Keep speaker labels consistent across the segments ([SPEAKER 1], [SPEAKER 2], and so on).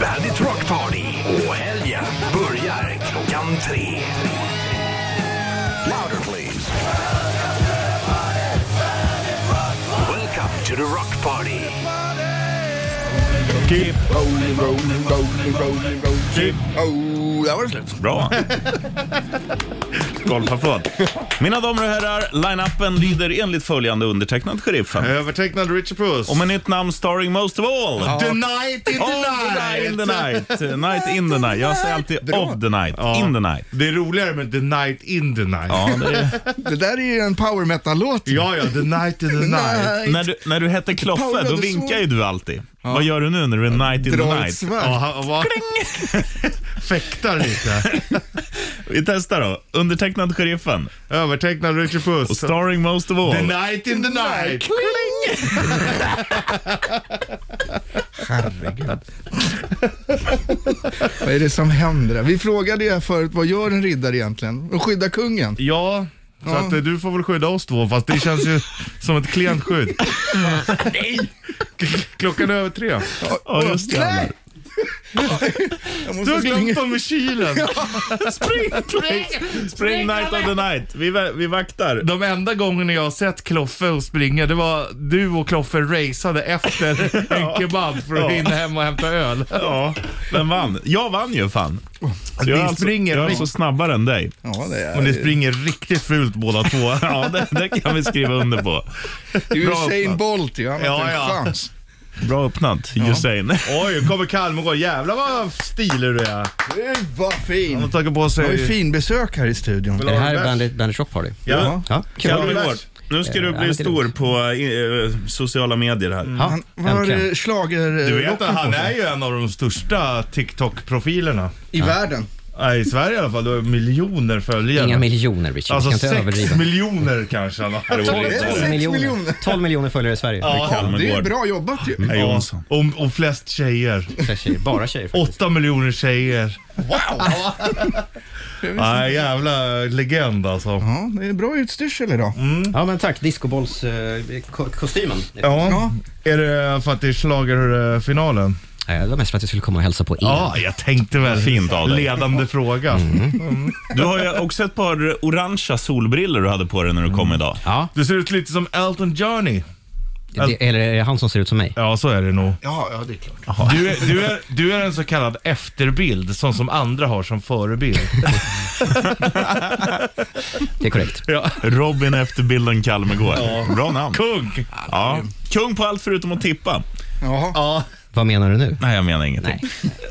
[SPEAKER 1] Bandit Rock Party och helgen börjar klockan tre. Louder please. Welcome to the Rock Party.
[SPEAKER 2] Keep
[SPEAKER 3] Rolling, rolling, rolling, rolling, rolling. Oh, där var det slut.
[SPEAKER 2] Bra. Golfapplåd. Mina damer och herrar, line-upen lyder enligt följande undertecknad sheriffen.
[SPEAKER 4] Övertecknad Richard Puss.
[SPEAKER 2] Och med nytt namn starring most of all.
[SPEAKER 4] The night in the
[SPEAKER 2] Of the night in the night. Night in the night. Jag säger alltid of the night. In the night.
[SPEAKER 4] Det är roligare med the night in the night.
[SPEAKER 2] Ja, det är...
[SPEAKER 3] Det där är ju en power metal-låt.
[SPEAKER 4] ja, ja the night in the night.
[SPEAKER 2] när, du, när du hette Kloffe,
[SPEAKER 3] Paula,
[SPEAKER 2] då
[SPEAKER 3] du
[SPEAKER 2] vinkar
[SPEAKER 3] såg-
[SPEAKER 2] ju du alltid. Vad gör du nu när du är night in the
[SPEAKER 3] Dra ett
[SPEAKER 2] night?
[SPEAKER 3] svärd.
[SPEAKER 4] Ja, han var... Fäktar lite.
[SPEAKER 2] Vi testar då. Undertecknad sheriffen.
[SPEAKER 4] Övertecknad Richard
[SPEAKER 2] Och
[SPEAKER 4] Puss.
[SPEAKER 2] starring most of all.
[SPEAKER 4] The night in the night.
[SPEAKER 3] Vad är det som händer? där? Vi frågade ju här förut, vad gör en riddare egentligen? Och skydda kungen.
[SPEAKER 4] Ja, så att eh, du får väl skydda oss två, fast det känns ju som ett klent skydd. Nej! Klockan är över tre.
[SPEAKER 2] Ja, just det.
[SPEAKER 3] Nej! Jag
[SPEAKER 4] Du har
[SPEAKER 3] måste
[SPEAKER 4] glömt
[SPEAKER 3] springa.
[SPEAKER 4] dem i kylen.
[SPEAKER 2] Spring night of the night. Vi, va- vi vaktar.
[SPEAKER 4] De enda gångerna jag har sett Kloffe och springa, det var du och Kloffe raceade efter en kebab för att
[SPEAKER 2] Ja.
[SPEAKER 4] hinna hem och hämta öl.
[SPEAKER 2] Ja, vem vann? Jag vann ju fan. Så jag är alltså,
[SPEAKER 4] springer
[SPEAKER 2] jag är
[SPEAKER 4] rikt-
[SPEAKER 2] alltså snabbare än dig.
[SPEAKER 3] Ja, det
[SPEAKER 4] Och ni
[SPEAKER 3] är
[SPEAKER 4] springer riktigt fult båda två.
[SPEAKER 2] Ja, det, det kan vi skriva under på.
[SPEAKER 3] det. är ju
[SPEAKER 2] Bra
[SPEAKER 3] Usain
[SPEAKER 2] öppnat.
[SPEAKER 3] Bolt ju, han har inte
[SPEAKER 4] alltså. Ja,
[SPEAKER 3] en
[SPEAKER 4] ja.
[SPEAKER 3] chans.
[SPEAKER 2] Bra öppnat, Usain.
[SPEAKER 4] Oj, kommer Kalmegård. Jävlar vad stilig du är.
[SPEAKER 3] Gud vad
[SPEAKER 4] Han har
[SPEAKER 3] fin.
[SPEAKER 4] tagit på
[SPEAKER 3] Vi har ju
[SPEAKER 4] sig...
[SPEAKER 3] fin besök här i studion.
[SPEAKER 5] Det här är
[SPEAKER 4] Bärs.
[SPEAKER 5] Bandit, Bandit Rock Party.
[SPEAKER 2] Ja.
[SPEAKER 5] Ja, kul.
[SPEAKER 4] Ja, men-
[SPEAKER 2] Kalmegård, nu ska du
[SPEAKER 5] Eh,
[SPEAKER 2] bli
[SPEAKER 5] annat är
[SPEAKER 2] stor
[SPEAKER 5] lugnt.
[SPEAKER 2] på eh, sociala medier här.
[SPEAKER 5] Ja,
[SPEAKER 3] Han var
[SPEAKER 5] äntligen.
[SPEAKER 3] eh, schlager
[SPEAKER 4] Du vet att han är ju en av de största TikTok-profilerna.
[SPEAKER 3] i världen.
[SPEAKER 4] Nej, I Sverige i alla fall. Du har miljoner följare.
[SPEAKER 5] Inga miljoner Richard,
[SPEAKER 4] Alltså
[SPEAKER 5] vi kan inte
[SPEAKER 4] sex
[SPEAKER 5] överdriva.
[SPEAKER 4] miljoner kanske han har.
[SPEAKER 2] Roligt.
[SPEAKER 3] Sex miljoner.
[SPEAKER 5] 12 miljoner följare i Sverige. Ja.
[SPEAKER 3] Det är
[SPEAKER 2] Kalmegård.
[SPEAKER 3] bra jobbat ju.
[SPEAKER 4] Mm.
[SPEAKER 2] Hej Jonsson.
[SPEAKER 4] Och, och flest tjejer.
[SPEAKER 5] Tjejer, bara tjejer faktiskt.
[SPEAKER 4] Åtta miljoner tjejer. Wow! Nej, jävla legend alltså.
[SPEAKER 3] Ja, det är bra utstyrsel idag.
[SPEAKER 5] Ja men tack, eh, discobollskostymen. Ja.
[SPEAKER 4] Ja. Är det för att det är schlagerfinalen?
[SPEAKER 5] Det var mest för att jag skulle komma och hälsa på er.
[SPEAKER 4] Ja, jag tänkte väl.
[SPEAKER 2] Fint av dig.
[SPEAKER 4] Ledande fråga.
[SPEAKER 2] Du har ju också ett par orangea solbriller du hade på dig när du kom idag.
[SPEAKER 5] Ja,
[SPEAKER 4] Du ser ut lite som Elton Johnny.
[SPEAKER 5] det, eller är det han som ser ut som mig?
[SPEAKER 4] Ja, så är det nog.
[SPEAKER 3] Ja, ja, det är klart.
[SPEAKER 4] Du är, du är, du är en så kallad efterbild, sån som andra har som förebild.
[SPEAKER 5] Det är korrekt.
[SPEAKER 2] Robin efter bilden Kalmegård. Bra namn.
[SPEAKER 4] Kung!
[SPEAKER 2] Ja. Kung på allt förutom att tippa.
[SPEAKER 3] Jaha.
[SPEAKER 4] Ja.
[SPEAKER 5] Vad menar du nu?
[SPEAKER 2] Nej, jag menar ingenting.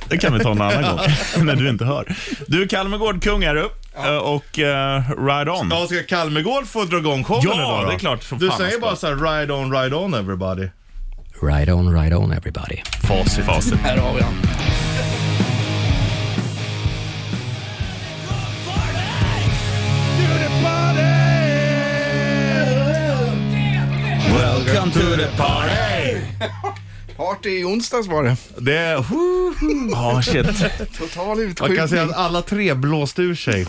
[SPEAKER 2] Det kan vi ta en annan gång, när du inte hör. Du, Kalmegård, kung är du. Eh, Och eh, ride on.
[SPEAKER 4] Ja, ska Kalmegård få dra igång showen
[SPEAKER 2] Ja,
[SPEAKER 4] idag då?
[SPEAKER 2] det är klart som
[SPEAKER 4] Du
[SPEAKER 2] fan han
[SPEAKER 4] säger
[SPEAKER 2] ska.
[SPEAKER 4] bara så här, ride on, ride on everybody.
[SPEAKER 5] Ride on, ride on everybody.
[SPEAKER 2] Fas i fasen.
[SPEAKER 3] Här har vi han.
[SPEAKER 2] Welcome to the party!
[SPEAKER 3] Party i onsdags var det.
[SPEAKER 4] Det är,
[SPEAKER 2] Ja, Ah, shit.
[SPEAKER 3] Total
[SPEAKER 4] man kan säga
[SPEAKER 3] utskjutning.
[SPEAKER 4] att alla tre blåste ur sig.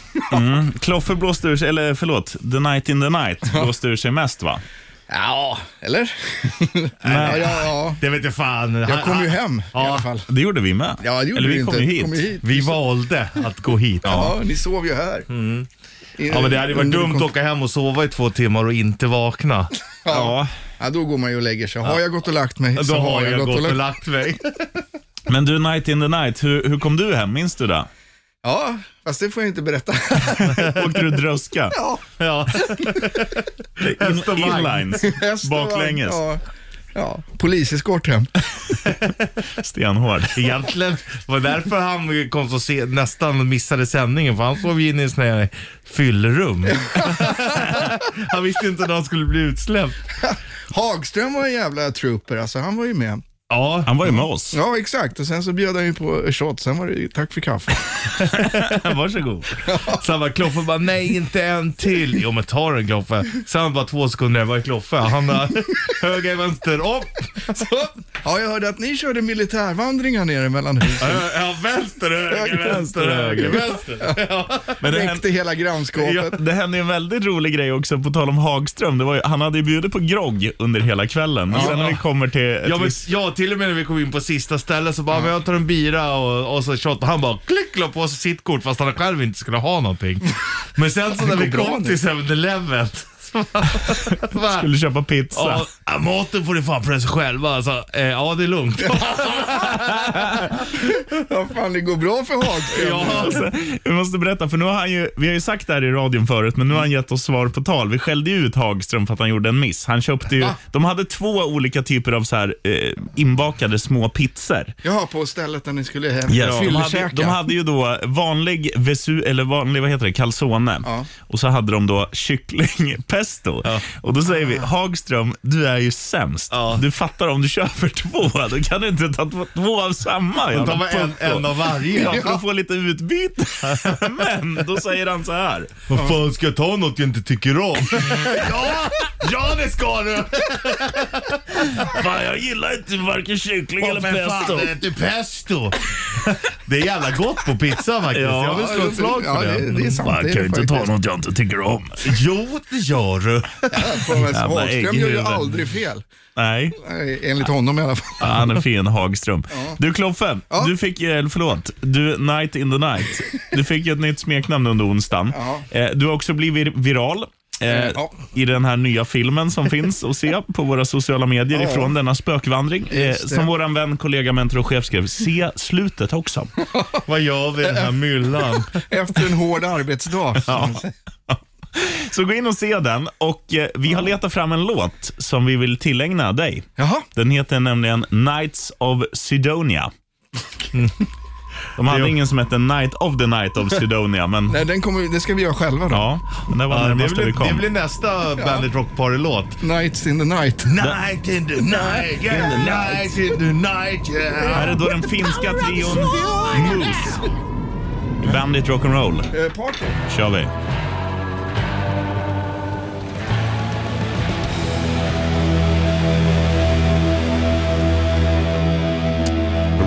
[SPEAKER 2] Kloffe blåste ur sig, eller förlåt, The Night in the Night blåste ur sig mest va?
[SPEAKER 3] Ja, eller? ja, ja, ja.
[SPEAKER 4] Det vet jag fan.
[SPEAKER 3] Jag kom ju hem i
[SPEAKER 4] Ja.
[SPEAKER 3] alla fall.
[SPEAKER 2] Det gjorde vi med.
[SPEAKER 3] Ja, det gjorde
[SPEAKER 2] eller vi
[SPEAKER 3] du
[SPEAKER 2] kom
[SPEAKER 3] inte.
[SPEAKER 2] ju hit.
[SPEAKER 3] Kom ju hit.
[SPEAKER 4] Vi valde att gå hit.
[SPEAKER 3] Ja, ni sov ju här. I-
[SPEAKER 4] Mm. Ja men det hade ju varit
[SPEAKER 3] under
[SPEAKER 4] dumt att
[SPEAKER 3] kon-
[SPEAKER 4] åka hem och sova i två timmar och inte vakna.
[SPEAKER 2] Ja,
[SPEAKER 3] Ja, då går man ju och lägger sig. Har jag gått och lagt mig så
[SPEAKER 4] Då har jag gått och lagt mig.
[SPEAKER 2] men du Night in the Night, hur, hur kom du hem? Minns du det?
[SPEAKER 3] Ja, fast det får jag inte berätta.
[SPEAKER 2] Åkte du dröska?
[SPEAKER 3] Ja,
[SPEAKER 4] Ja.
[SPEAKER 2] In, inlines,
[SPEAKER 3] häst och vagn,
[SPEAKER 2] baklänges,
[SPEAKER 3] Ja, ja. poliseskort hem.
[SPEAKER 2] stenhård.
[SPEAKER 4] Egentligen var det därför han kom så se, nästan missade sändningen för han sov ju inne i sån här fyllrum. Han visste inte när han skulle bli utsläppt.
[SPEAKER 3] Hagström var en jävla trooper, alltså han var ju med.
[SPEAKER 4] Ja,
[SPEAKER 2] Han var ju med oss.
[SPEAKER 3] Ja, exakt. Och sen så bjöd han ju på shot, sen var det ju tack för kaffe.
[SPEAKER 4] varsågod. Så han bara, Kloffe bara, nej inte en till. Jo men ta den Kloffe. Sen bara två sekunder, var är Kloffe? Han bara, höger, vänster, upp.
[SPEAKER 3] Så, ja, jag hörde att ni körde militärvandringar nere mellan husen.
[SPEAKER 4] Ö- Äh, Ja, vänster, höger, vänster, höger, vänster. Ja.
[SPEAKER 2] Men det hände,
[SPEAKER 3] Räckte hela grannskapet.
[SPEAKER 2] det hände ju en väldigt rolig grej också på tal om Hagström. Det var ju, han hade ju bjudit på grogg under hela kvällen. Och sen när vi kommer till...
[SPEAKER 4] Ja, men
[SPEAKER 2] till-
[SPEAKER 4] jag till och med när vi kom in på sista stället så bara, men jag tar en bira och, och så shot. Han bara klick la på sig sitt kort fast han själv inte skulle ha någonting. Men sen så när
[SPEAKER 3] går
[SPEAKER 4] vi
[SPEAKER 3] bra
[SPEAKER 4] kom
[SPEAKER 3] nu.
[SPEAKER 4] till 7-Eleven så bara- så bara,
[SPEAKER 2] Skulle köpa pizza.
[SPEAKER 4] Ja, ja, maten får ni fan pressa själva alltså. Eh, ja, det är lugnt.
[SPEAKER 3] Ja, fan, det går bra för Hagström.
[SPEAKER 4] Ja.
[SPEAKER 2] Alltså, vi måste berätta, för nu har han ju, vi har ju sagt det här i radion förut, men nu har han gett oss svar på tal. Vi skällde ju ut Hagström för att han gjorde en miss. Han köpte
[SPEAKER 4] Ah.
[SPEAKER 2] ju, de hade två olika typer av så här, eh, inbakade små pizzor.
[SPEAKER 3] Jaha, på stället där ni skulle hem.
[SPEAKER 2] Ja, de, hade,
[SPEAKER 3] Fyllekäka.
[SPEAKER 2] de hade ju då vanlig vesu, eller vanlig, vad heter det, calzone.
[SPEAKER 3] Ja.
[SPEAKER 2] Och så hade de då kycklingpesto. Och då säger vi, Hagström, du är ju sämst.
[SPEAKER 4] Ja.
[SPEAKER 2] Du fattar om du köper två, då kan du inte ta två, två av samma.
[SPEAKER 4] De
[SPEAKER 2] jävla
[SPEAKER 4] tar bara en,
[SPEAKER 2] pucko.
[SPEAKER 4] en av varje.
[SPEAKER 2] Ja, för att få lite utbyte. Men då säger han så här.
[SPEAKER 4] Vad fan ska jag ta något jag inte tycker om? ja, ja det ska du!
[SPEAKER 2] Fan, jag gillar inte varken kyckling eller pesto.
[SPEAKER 4] det är inte pesto. det är jävla gott på pizza faktiskt.
[SPEAKER 2] Ja.
[SPEAKER 4] Jag vill slå ett slag
[SPEAKER 3] Ja,
[SPEAKER 4] för
[SPEAKER 3] det,
[SPEAKER 4] det. Mm.
[SPEAKER 3] det är sant.
[SPEAKER 2] Fan,
[SPEAKER 3] det
[SPEAKER 2] kan
[SPEAKER 3] är
[SPEAKER 2] jag
[SPEAKER 3] det
[SPEAKER 2] inte ta
[SPEAKER 3] faktiskt.
[SPEAKER 2] något jag inte tycker om?
[SPEAKER 4] Jo, det gör du.
[SPEAKER 3] Ja, men
[SPEAKER 2] Jävla ägg
[SPEAKER 3] Hagström
[SPEAKER 2] i
[SPEAKER 3] gör ju
[SPEAKER 2] huvudet.
[SPEAKER 3] aldrig fel.
[SPEAKER 2] Nej,
[SPEAKER 3] Nej, Enligt honom i alla fall.
[SPEAKER 2] Ja, han är fin Hagström. Du Kloffe,
[SPEAKER 3] Ja.
[SPEAKER 2] du fick, eh, eller förlåt, du Night in the Night. Du fick ju ett nytt smeknamn under onsdagen.
[SPEAKER 3] Ja.
[SPEAKER 2] Eh, Du har också blivit viral. eh,
[SPEAKER 3] Ja.
[SPEAKER 2] I den här nya filmen som finns att se på våra sociala medier
[SPEAKER 3] Ja.
[SPEAKER 2] ifrån denna spökvandring. eh,
[SPEAKER 3] Just det.
[SPEAKER 2] Som våran vän, kollega, mentor och chef skrev, se slutet också.
[SPEAKER 4] Vad gör vi i
[SPEAKER 2] Äh,
[SPEAKER 4] den här myllan?
[SPEAKER 3] Efter en hård arbetsdag.
[SPEAKER 2] Ja. Så gå in och se den. Och eh, Vi har letat fram en låt som vi vill tillägna dig.
[SPEAKER 3] Jaha.
[SPEAKER 2] Den heter nämligen Nights of Sidonia. De hade
[SPEAKER 4] Det-
[SPEAKER 2] ingen som hette Night of the Night of Sidonia, men
[SPEAKER 3] Nej, den kommer, vi- det ska vi göra själva då.
[SPEAKER 2] ja, men det var
[SPEAKER 4] Ja, det,
[SPEAKER 2] närmast det vi
[SPEAKER 4] blir,
[SPEAKER 2] kom.
[SPEAKER 4] det blir nästa Bandit Rock Party-låt.
[SPEAKER 3] Nights in the night.
[SPEAKER 4] Night in the night, yeah, night in the night, yeah.
[SPEAKER 2] Här är då den finska trion Moose. Bandit Rock'n'Roll.
[SPEAKER 3] Eh, Party.
[SPEAKER 2] kör vi.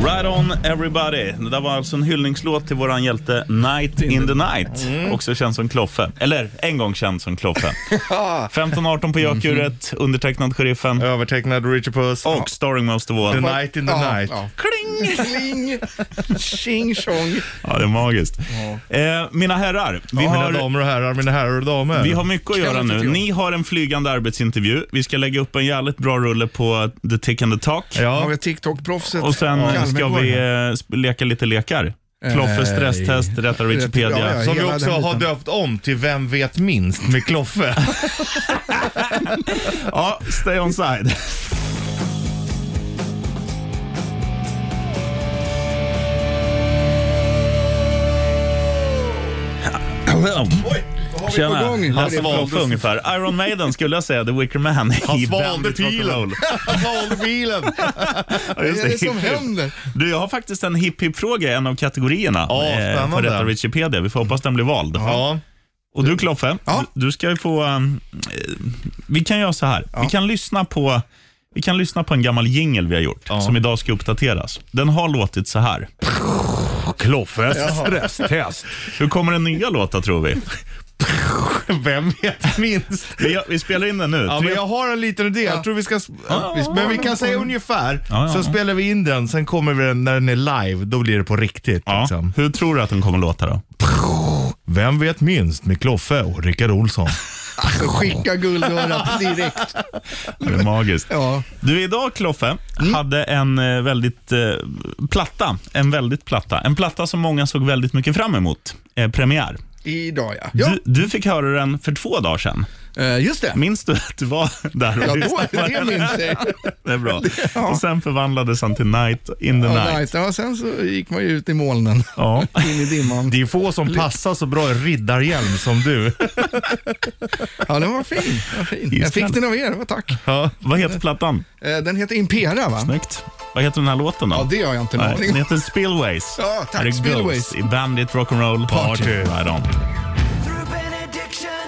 [SPEAKER 2] Right on everybody. Det där var alltså en hyllningslåt till våran hjälte Night in the Night.
[SPEAKER 4] Mm.
[SPEAKER 2] Också känd som Kloffe. Eller en gång känd som Kloffe. 15-18 på Jakuret,
[SPEAKER 4] Mhm.
[SPEAKER 2] undertecknad Sheriffen
[SPEAKER 4] Övertecknad Richard Puss.
[SPEAKER 2] och starring most of
[SPEAKER 4] The
[SPEAKER 2] all.
[SPEAKER 4] night in the
[SPEAKER 3] Ja,
[SPEAKER 4] night.
[SPEAKER 3] ja.
[SPEAKER 2] Kling!
[SPEAKER 3] Kling, tjing, tjong.
[SPEAKER 2] Ja, det är magiskt. Eh, mina herrar, vi
[SPEAKER 4] Ja,
[SPEAKER 2] har
[SPEAKER 4] mina damer och herrar, mina herrar och damer.
[SPEAKER 2] Vi har mycket att göra
[SPEAKER 3] inte
[SPEAKER 2] nu.
[SPEAKER 3] jag.
[SPEAKER 2] Ni har en flygande arbetsintervju. Vi ska lägga upp en jävligt bra rulle på The Tick and the Talk.
[SPEAKER 3] Har
[SPEAKER 4] Ja,
[SPEAKER 3] vi TikTok-proffset
[SPEAKER 2] Och sen eh, ska
[SPEAKER 3] Kalmegård.
[SPEAKER 2] vi eh, sp- leka lite lekar. Kloffe stresstest, rätta Wikipedia.
[SPEAKER 3] Eh, Ja, ja,
[SPEAKER 4] som vi
[SPEAKER 3] hela
[SPEAKER 4] också
[SPEAKER 3] den
[SPEAKER 4] har
[SPEAKER 3] biten.
[SPEAKER 4] döpt om till Vem vet minst med Kloffe.
[SPEAKER 2] Ja, stay on side. Oj,
[SPEAKER 3] Vad har vi på gång? Ja,
[SPEAKER 2] Hasse
[SPEAKER 3] det är
[SPEAKER 2] Wolfe
[SPEAKER 3] Frodo.
[SPEAKER 2] ungefär. Iron Maiden skulle jag säga, The Wicker Man
[SPEAKER 4] Han
[SPEAKER 2] i
[SPEAKER 4] svalde
[SPEAKER 2] Bandit
[SPEAKER 4] pilen.
[SPEAKER 2] Rock'n'Roll.
[SPEAKER 4] Han svalde pilen.
[SPEAKER 2] Ja,
[SPEAKER 3] Vad
[SPEAKER 2] just
[SPEAKER 3] är det som
[SPEAKER 2] Hipp Hipp.
[SPEAKER 3] händer?
[SPEAKER 2] Du, jag har faktiskt en hipp hipp fråga i en av kategorierna
[SPEAKER 4] Ja,
[SPEAKER 2] eh, på
[SPEAKER 4] spännande.
[SPEAKER 2] Rätta Wikipedia. Vi får hoppas den blir vald.
[SPEAKER 4] Ja,
[SPEAKER 2] Och du Kloffe,
[SPEAKER 3] Ja.
[SPEAKER 2] du, du ska ju få... um, eh, vi kan göra så här. Vi, kan lyssna på, vi kan lyssna på en gammal jingle vi har gjort, som idag ska uppdateras. Den har låtit så här.
[SPEAKER 4] Kloffes stresstest.
[SPEAKER 2] Hur kommer den nya låta, tror vi?
[SPEAKER 4] Vem vet minst?
[SPEAKER 2] Vi, gör- vi spelar in den nu.
[SPEAKER 4] Ja,
[SPEAKER 2] Tre-
[SPEAKER 4] men jag har en liten idé. Jag tror vi ska... Men vi kan säga ungefär.
[SPEAKER 2] Ja, ja,
[SPEAKER 4] Sen
[SPEAKER 2] ja.
[SPEAKER 4] spelar vi in den, sen kommer vi den när den är live. Då blir det på riktigt.
[SPEAKER 2] Ja.
[SPEAKER 4] Liksom.
[SPEAKER 2] Hur tror du att den kommer låta då?
[SPEAKER 4] Vem vet minst med Kloffe och Rickard Olsson?
[SPEAKER 3] Alltså, skicka guldörat direkt.
[SPEAKER 2] Det är magiskt.
[SPEAKER 3] Ja.
[SPEAKER 2] Du, idag Kloffe,
[SPEAKER 3] Mm.
[SPEAKER 2] hade en eh, väldigt eh, platta. En väldigt platta. En platta som många såg väldigt mycket fram emot. Eh, premiär.
[SPEAKER 3] Idag ja. ja.
[SPEAKER 2] Du, du fick höra den för två dagar sedan.
[SPEAKER 3] eh, just det.
[SPEAKER 2] Minns du att du var där och
[SPEAKER 3] Ja, då,
[SPEAKER 2] lyssnade på
[SPEAKER 3] det
[SPEAKER 2] den?
[SPEAKER 3] minns jag.
[SPEAKER 2] Det är bra.
[SPEAKER 3] Ja.
[SPEAKER 2] Och sen förvandlades han till Night in the
[SPEAKER 3] Ja,
[SPEAKER 2] Night.
[SPEAKER 3] nice. ja, sen så gick man ju ut i molnen,
[SPEAKER 2] Ja.
[SPEAKER 3] in i dimman.
[SPEAKER 4] Det är få som passar så bra i riddarhjälm som du.
[SPEAKER 3] Ja, den var fin. Den var fin.
[SPEAKER 2] Just
[SPEAKER 3] Jag fick
[SPEAKER 2] den.
[SPEAKER 3] den av er, vad tack.
[SPEAKER 4] Ja.
[SPEAKER 2] Vad heter plattan?
[SPEAKER 3] Eh, Den heter Impera va?
[SPEAKER 2] Snyggt. Vad heter den här låten då?
[SPEAKER 3] Ja, det har jag inte en
[SPEAKER 2] Nej,
[SPEAKER 3] aning
[SPEAKER 2] den
[SPEAKER 3] om.
[SPEAKER 2] heter Spillways.
[SPEAKER 3] Ja, tack,
[SPEAKER 2] Här är
[SPEAKER 3] Spillways.
[SPEAKER 2] Ghost i Bandit Rock'n'Roll Party.
[SPEAKER 4] Party.
[SPEAKER 2] Right on.
[SPEAKER 6] Through benediction,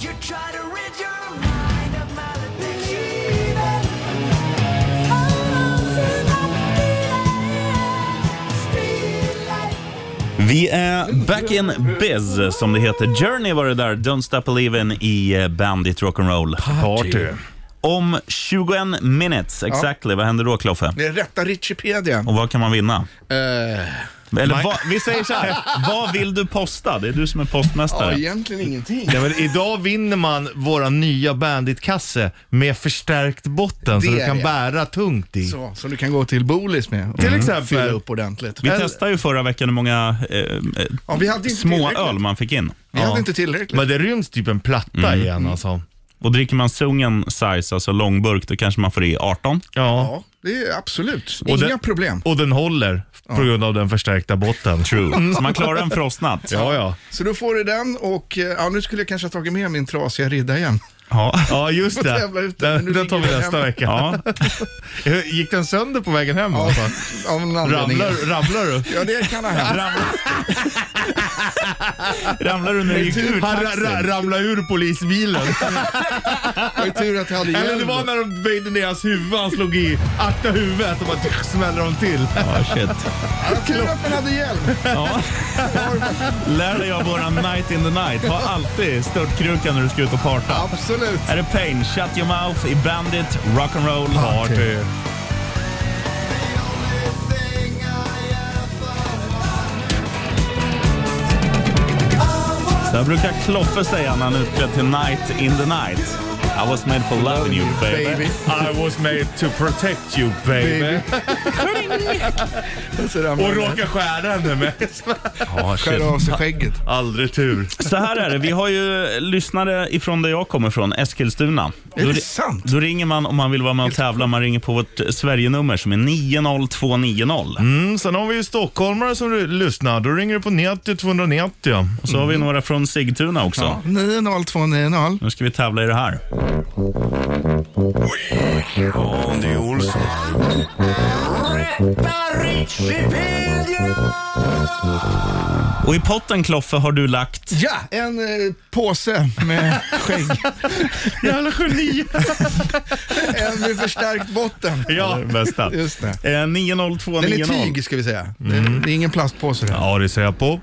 [SPEAKER 6] you try to rid your mind of malediction. Hold on to that feeling, streetlight.
[SPEAKER 2] Vi är back in biz, som det heter. Journey var det där, Don't Stop Believin' i eh, Bandit Rock'n'Roll.
[SPEAKER 4] Party.
[SPEAKER 2] om 21 minutes. Exactly. Vad händer då, Kloffe?
[SPEAKER 3] Det är rätta Richipedia.
[SPEAKER 2] Och vad kan man vinna?
[SPEAKER 3] Eh,
[SPEAKER 2] Eller vad, vi säger så här, vad vill du posta? Det är du som är
[SPEAKER 3] ja,
[SPEAKER 2] postmästare.
[SPEAKER 3] egentligen ingenting.
[SPEAKER 4] Ja, men idag vinner man våra nya Bandit-kasse med förstärkt botten så
[SPEAKER 3] Det
[SPEAKER 4] du
[SPEAKER 3] är
[SPEAKER 4] kan
[SPEAKER 3] det.
[SPEAKER 4] bära tungt i.
[SPEAKER 3] Så, som du kan gå till Bolis med. och
[SPEAKER 4] Till exempel.
[SPEAKER 3] Fylla upp ordentligt. Eh,
[SPEAKER 2] Vi testade ju förra veckan hur många eh, eh,
[SPEAKER 3] Ja, vi hade inte
[SPEAKER 2] små
[SPEAKER 3] tillräckligt.
[SPEAKER 2] öl man fick in.
[SPEAKER 3] Vi hade inte tillräckligt.
[SPEAKER 4] Men det ryms typ en platta i
[SPEAKER 3] Mm.
[SPEAKER 4] en alltså.
[SPEAKER 2] Och dricker man Sungen size, alltså långburk, då kanske man får i 18.
[SPEAKER 4] Ja.
[SPEAKER 3] Ja, det är absolut.
[SPEAKER 4] Och
[SPEAKER 3] Inga
[SPEAKER 4] det-
[SPEAKER 3] problem.
[SPEAKER 4] Och den håller på grund av den förstärkta botten.
[SPEAKER 2] True. Så man klarar en frostnatt.
[SPEAKER 4] Ja, ja.
[SPEAKER 3] Så då får du den och eh, ja, nu skulle jag kanske ha tagit med min trasiga ridda igen.
[SPEAKER 2] Ja.
[SPEAKER 4] Ja, just
[SPEAKER 3] Får tävla
[SPEAKER 4] det.
[SPEAKER 3] ut den, men
[SPEAKER 4] Den,
[SPEAKER 3] nu
[SPEAKER 4] den tar vi
[SPEAKER 3] ligger den
[SPEAKER 4] nästa
[SPEAKER 3] hemma.
[SPEAKER 4] vecka.
[SPEAKER 2] Ja.
[SPEAKER 4] Gick den sönder på vägen hem?
[SPEAKER 3] Ja,
[SPEAKER 4] alltså?
[SPEAKER 3] av någon anledning.
[SPEAKER 4] Ramlar, ramlar du?
[SPEAKER 3] Ja, det kan ha hänt.
[SPEAKER 2] Ramlar, ramlar du när du gick ur
[SPEAKER 4] Han ra, ra,
[SPEAKER 2] taxin?
[SPEAKER 4] ramlade ur polisbilen.
[SPEAKER 3] Det var ju tur att jag hade
[SPEAKER 4] Eller det
[SPEAKER 3] hjälm.
[SPEAKER 4] var när de böjde ner hans huvud, han slog i, akta huvudet och bara tsk, smällde de till.
[SPEAKER 2] Ja, shit.
[SPEAKER 3] Ja, tur att man hade hjälm.
[SPEAKER 2] Ja. Lär dig av våran night in the night. Var alltid störtkrukan när du ska ut och parta.
[SPEAKER 3] Absolut.
[SPEAKER 2] Här är Pain, Shut Your Mouth i Bandit, Rock'n'Roll Party. Så här brukar Kloffe säga när han är utklädd till Night in the Night. I was made for loving you baby.
[SPEAKER 3] Baby.
[SPEAKER 4] I was made to protect you baby.
[SPEAKER 3] Och så ramlade
[SPEAKER 4] Och
[SPEAKER 3] den.
[SPEAKER 4] råkade skära henne med.
[SPEAKER 2] Ja, shit.
[SPEAKER 3] Skär av sig skägget.
[SPEAKER 4] Aldrig tur.
[SPEAKER 2] Så här är det, vi har ju lyssnare ifrån där jag kommer från, Eskilstuna.
[SPEAKER 3] Är
[SPEAKER 2] Då
[SPEAKER 3] det
[SPEAKER 2] ri-
[SPEAKER 3] sant?
[SPEAKER 2] Då ringer man om man vill vara med och tävla. Man ringer på vårt Sverigenummer som är 90290.
[SPEAKER 4] Mm, sen har vi ju stockholmare som du- lyssnar. Då ringer du på 90 290.
[SPEAKER 2] Och så har vi några från Sigtuna också.
[SPEAKER 3] 90290.
[SPEAKER 2] Nu ska vi tävla i det här.
[SPEAKER 1] Andy Olsson.
[SPEAKER 2] Och i potten, Kloffe, har du lagt...
[SPEAKER 3] Ja, en eh, påse med skägg.
[SPEAKER 4] Jävla geni.
[SPEAKER 3] en med förstärkt botten.
[SPEAKER 4] Ja.
[SPEAKER 2] Bästa.
[SPEAKER 3] Just det.
[SPEAKER 2] Eh, 90290.
[SPEAKER 3] Den är tyg ska vi säga. Det, det är ingen plastpåse. Ja.
[SPEAKER 4] Mm. ja, det ser jag på.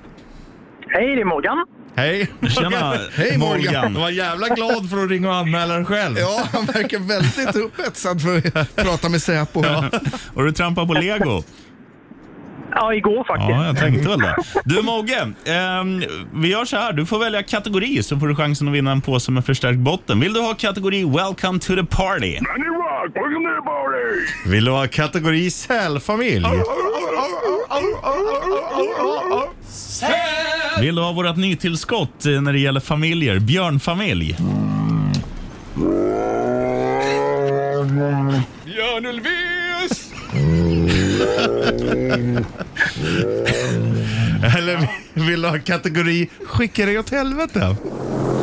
[SPEAKER 7] Hej, det är Morgan.
[SPEAKER 4] Hej.
[SPEAKER 2] Tjena,
[SPEAKER 3] Hej, Morgan.
[SPEAKER 4] Han var jävla glad för att ringa och anmäla den själv.
[SPEAKER 3] ja, han verkar väldigt upphetsad för att prata med Säpo.
[SPEAKER 2] Och du trampar på lego.
[SPEAKER 7] Ja, igår faktiskt.
[SPEAKER 2] Ja, jag tänkte väl det. Du Mogge, ehm, vi gör så här. Du får välja kategori så får du chansen att vinna en påse med förstärkt botten. Vill du ha kategori Welcome to the party?
[SPEAKER 4] Vill du ha kategori sälfamilj?
[SPEAKER 2] Vill du ha vårt nytillskott eh, när det gäller familjer? Björnfamilj.
[SPEAKER 4] Björn Ulvaeus! Eller vill du ha kategori skicka dig åt helvete?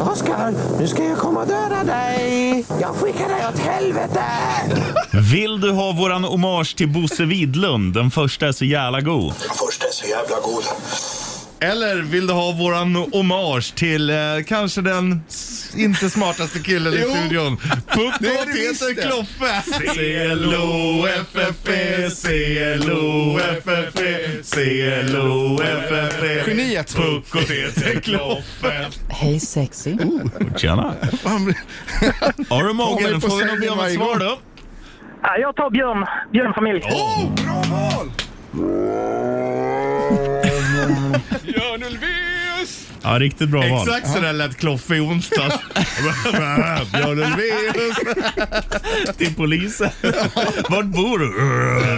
[SPEAKER 6] Oskar, nu ska jag komma och döda dig! Jag skickar dig åt helvete!
[SPEAKER 2] Vill du ha våran hommage till Bosse Widlund? Den första är så jävla god.
[SPEAKER 8] Först är så jävla god.
[SPEAKER 4] Eller vill du ha våran hommage till eh, kanske den s- inte smartaste killen i
[SPEAKER 3] Jo.
[SPEAKER 4] studion?
[SPEAKER 3] Det är det
[SPEAKER 4] Puckåt
[SPEAKER 3] visst
[SPEAKER 4] heter
[SPEAKER 3] det.
[SPEAKER 4] Kloffe! C-L-O-F-F-E, C-L-O-F-F-E, C-L-O-F-F-E.
[SPEAKER 3] Geniet.
[SPEAKER 4] Puckåt heter Kloffe.
[SPEAKER 9] Hej sexy.
[SPEAKER 2] Tjena.
[SPEAKER 3] Han-
[SPEAKER 2] Har du
[SPEAKER 3] Kommer
[SPEAKER 2] Mogge, nu
[SPEAKER 3] på
[SPEAKER 2] får vi nog
[SPEAKER 3] sängen
[SPEAKER 2] be om ett
[SPEAKER 3] varje
[SPEAKER 2] svar
[SPEAKER 3] gång.
[SPEAKER 2] då.
[SPEAKER 7] Ja, jag tar Björn, Björnfamilj.
[SPEAKER 3] oh, bra val!
[SPEAKER 2] Ja, riktigt bra val.
[SPEAKER 4] Exakt så där lät Kloffe i onsdags. Björn Ulvaeus.
[SPEAKER 2] Till polisen. Vart bor du?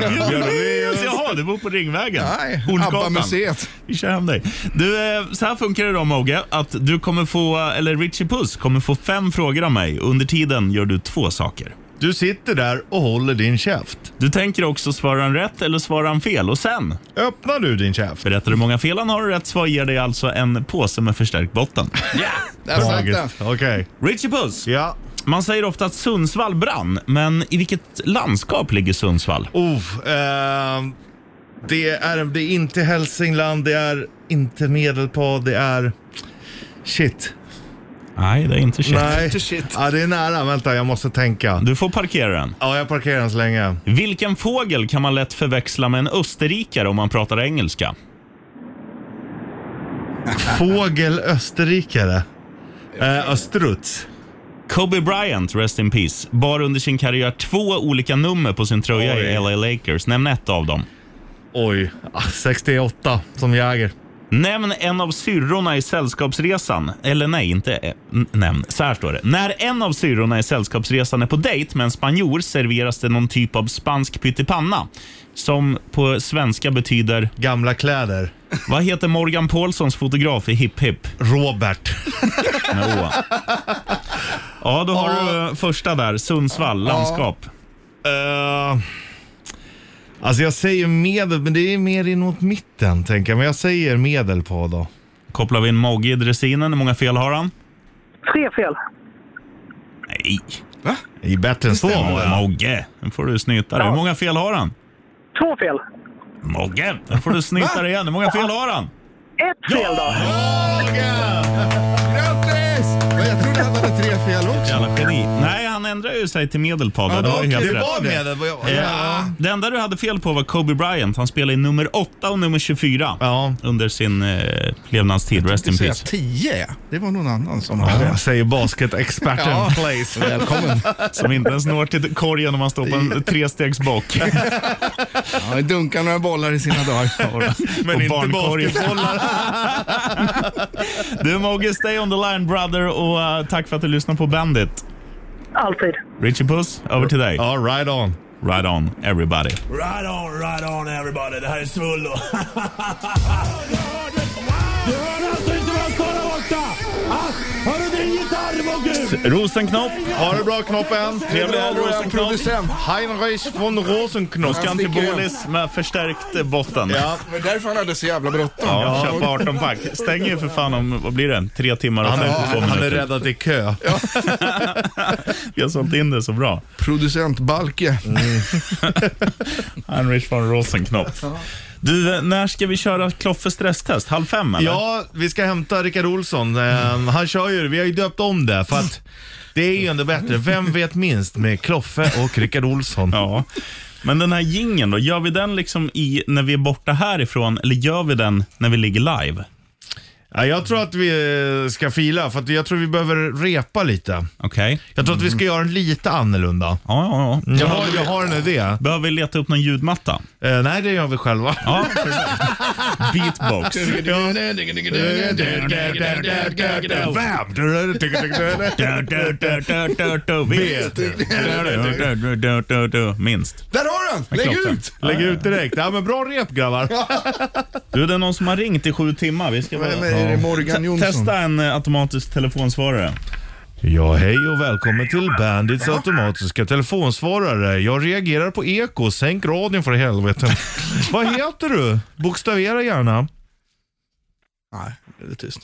[SPEAKER 4] Björn
[SPEAKER 2] Ulvaeus. Jaha, du bor på Ringvägen.
[SPEAKER 3] Nej,
[SPEAKER 2] Hornsgatan.
[SPEAKER 3] ABBA-museet.
[SPEAKER 2] Vi kör hem dig. Du, eh, så här funkar det då Mogge, att du kommer få, eller Richie Puss kommer få fem frågor av mig. Under tiden gör du två saker.
[SPEAKER 4] Du sitter där och håller din käft.
[SPEAKER 2] Du tänker också svara han rätt eller svara han fel och sen
[SPEAKER 4] Öppnar du din käft?
[SPEAKER 2] berättar du hur många fel han har och rätt svar ger dig alltså en påse med förstärkt botten.
[SPEAKER 3] Där satt den.
[SPEAKER 4] Okej. Okay.
[SPEAKER 2] Richie Puss,
[SPEAKER 4] Ja.
[SPEAKER 2] man säger ofta att Sundsvall brann, men i vilket landskap ligger Sundsvall?
[SPEAKER 4] Oh, ehm, det, är, det är inte Hälsingland, det är inte Medelpad, det är... Shit.
[SPEAKER 2] Nej, det är inte shit.
[SPEAKER 4] Nej.
[SPEAKER 3] Inte shit.
[SPEAKER 4] Ja, det är nära. Vänta, jag måste tänka.
[SPEAKER 2] Du får parkera den.
[SPEAKER 4] Ja, jag parkerar den så länge.
[SPEAKER 2] Vilken fågel kan man lätt förväxla med en österrikare om man pratar engelska?
[SPEAKER 4] Fågel österrikare. Eh, Östruts.
[SPEAKER 2] Kobe Bryant, rest in peace, bar under sin karriär två olika nummer på sin tröja i
[SPEAKER 4] Oj.
[SPEAKER 2] LA Lakers. Nämn ett av dem.
[SPEAKER 4] Oj, ah, 68 som Jagger.
[SPEAKER 2] Nämn en av syrrorna i Sällskapsresan. Eller nej, inte eh, n- nämn. Så här står det. När en av syrrorna i Sällskapsresan är på dejt med en spanjor serveras det någon typ av spansk pyttipanna som på svenska betyder...
[SPEAKER 4] Gamla kläder.
[SPEAKER 2] Vad heter Morgan Paulssons fotograf i Hipp Hipp?
[SPEAKER 4] Robert.
[SPEAKER 2] Med Å. Ja, då har du eh, första där. Sundsvall, landskap.
[SPEAKER 4] Uh, alltså jag säger medel, men det är mer inåt mitten tänker jag. Men jag säger medel på då.
[SPEAKER 2] Kopplar vi in Mogge i dressinen. Hur många fel har han?
[SPEAKER 7] Tre fel.
[SPEAKER 2] Nej,
[SPEAKER 4] Det är bättre än så. va?
[SPEAKER 2] Mogge. Nu får du snyta dig. Hur många fel har han?
[SPEAKER 7] Två fel.
[SPEAKER 2] Mogge. Nu får du snyta dig igen. Hur många fel har han?
[SPEAKER 7] Ett fel då.
[SPEAKER 3] Grattis! Ja, Jag trodde han hade tre fel också.
[SPEAKER 2] Jävla geni. Nej, han ändrade ju sig till medelpad. det var ju helt
[SPEAKER 4] Det
[SPEAKER 2] rätt.
[SPEAKER 4] var medel. vad jag-
[SPEAKER 2] Eh, det enda du hade fel på var Kobe Bryant. Han spelade i nummer 8 och nummer 24
[SPEAKER 4] Ja.
[SPEAKER 2] under sin eh, levnadstid. Rest in
[SPEAKER 3] Jag säga
[SPEAKER 2] peace.
[SPEAKER 3] tio. Det var någon annan som hade
[SPEAKER 4] Ja,
[SPEAKER 3] det.
[SPEAKER 4] Säger basketexperten.
[SPEAKER 3] Ja.
[SPEAKER 4] Place.
[SPEAKER 3] Välkommen.
[SPEAKER 2] Som inte ens når till korgen om man står på en trestegsbock.
[SPEAKER 3] Ja, dunkar några bollar i sina dagar.
[SPEAKER 2] Men
[SPEAKER 4] inte
[SPEAKER 2] du Mogge, stay on the line brother och eh, tack för att du lyssnar på Bandit.
[SPEAKER 7] Alltid.
[SPEAKER 2] Richie Puss, över till dig.
[SPEAKER 4] Ja, right on.
[SPEAKER 2] Right on everybody.
[SPEAKER 1] Right on, right on everybody. Det här är Svullo. Du hörde alltså inte vad jag sa där borta? Ah, Hörru din gitarr, Mogge!
[SPEAKER 2] Rosenknopp,
[SPEAKER 4] Ha det bra Knoppen.
[SPEAKER 2] Trevlig helg, Rosenknopp.
[SPEAKER 3] Producent.
[SPEAKER 4] Heinrich von Rosenknopp.
[SPEAKER 2] Ska han till Bålis med förstärkt eh, botten.
[SPEAKER 4] Ja,
[SPEAKER 3] Det var därför han hade så jävla bråttom.
[SPEAKER 2] Ja, köpa 18 pack. Stänger ju för fan om, vad blir det? Tre timmar och
[SPEAKER 4] han, är,
[SPEAKER 2] 52
[SPEAKER 4] han är
[SPEAKER 2] minuter.
[SPEAKER 4] rädd att det är kö.
[SPEAKER 2] Vi har sålt in det så bra.
[SPEAKER 3] Producent Balke.
[SPEAKER 2] Heinrich von Rosenknopp. Du, eh, när ska vi köra Kloffes stresstest? Halv fem eller?
[SPEAKER 4] Ja, vi ska hämta Rickard Olsson. Eh, Han kör ju, vi har ju döpt om det för att det är ju ändå bättre. Vem vet minst med Kloffe och Rickard Olsson?
[SPEAKER 2] Ja. Men den här gingen då, gör vi den liksom i, när vi är borta härifrån eller gör vi den när vi ligger live?
[SPEAKER 4] Ja, jag tror att vi eh, ska fila för att jag tror vi behöver repa lite.
[SPEAKER 2] Okej.
[SPEAKER 4] Jag tror att vi ska göra den lite annorlunda.
[SPEAKER 2] Ja, ja, ja.
[SPEAKER 4] Jag har, jag har en idé.
[SPEAKER 2] Behöver vi leta upp någon ljudmatta?
[SPEAKER 4] Eh, nej, det gör vi själva.
[SPEAKER 2] Ja, Beatbox. Minst.
[SPEAKER 3] Där har han! Lägg
[SPEAKER 2] Kloffe.
[SPEAKER 3] ut!
[SPEAKER 4] Lägg ut direkt. Ja, men bra rep grabbar.
[SPEAKER 2] Du, det är någon som har ringt i sju timmar. Vi ska väl...
[SPEAKER 3] Vem är det? Morgan
[SPEAKER 2] Te-
[SPEAKER 3] Jonsson?
[SPEAKER 2] Testa en eh, automatisk telefonsvarare.
[SPEAKER 4] Ja, hej och välkommen till Bandits automatiska telefonsvarare. Jag reagerar på eko. Sänk radion för helvete. Vad heter du? Bokstavera gärna.
[SPEAKER 3] Nej, det är tyst.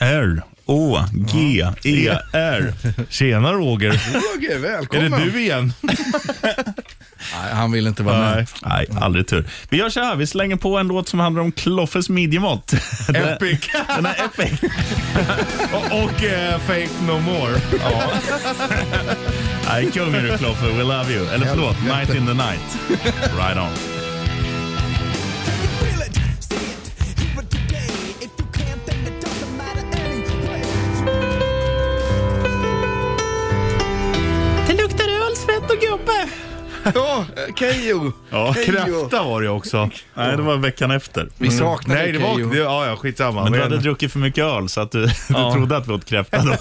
[SPEAKER 2] R, O, G, E, R.
[SPEAKER 4] Tjena Roger.
[SPEAKER 3] Roger,
[SPEAKER 4] Är
[SPEAKER 3] välkommen.
[SPEAKER 4] det du igen?
[SPEAKER 3] Nej, han vill inte vara med.
[SPEAKER 2] Nej, aldrig tur. Vi gör så här, vi slänger på en låt som handlar om Kloffes midjemått.
[SPEAKER 4] Epic.
[SPEAKER 2] Den är epic.
[SPEAKER 4] och och eh, Fake No More.
[SPEAKER 2] Nej, kung är du Kloffe, we love you. Eller förlåt, Night in the night. Right on.
[SPEAKER 6] Feel it, see it, hear it today. If you can't, then it doesn't matter anyway.
[SPEAKER 8] Det luktar öl, svett och gubbe.
[SPEAKER 3] Ja, Keyyo.
[SPEAKER 4] Ja,
[SPEAKER 3] Hej,
[SPEAKER 4] kräfta var det också.
[SPEAKER 2] Nej, det var veckan efter.
[SPEAKER 3] Vi saknar
[SPEAKER 4] Nej, det
[SPEAKER 3] dig,
[SPEAKER 4] var...
[SPEAKER 3] Keyyo.
[SPEAKER 4] Det, ja, ja, skitsamma.
[SPEAKER 2] Men du
[SPEAKER 4] Men
[SPEAKER 2] hade druckit för mycket öl så att du, du trodde att vi åt kräfta då.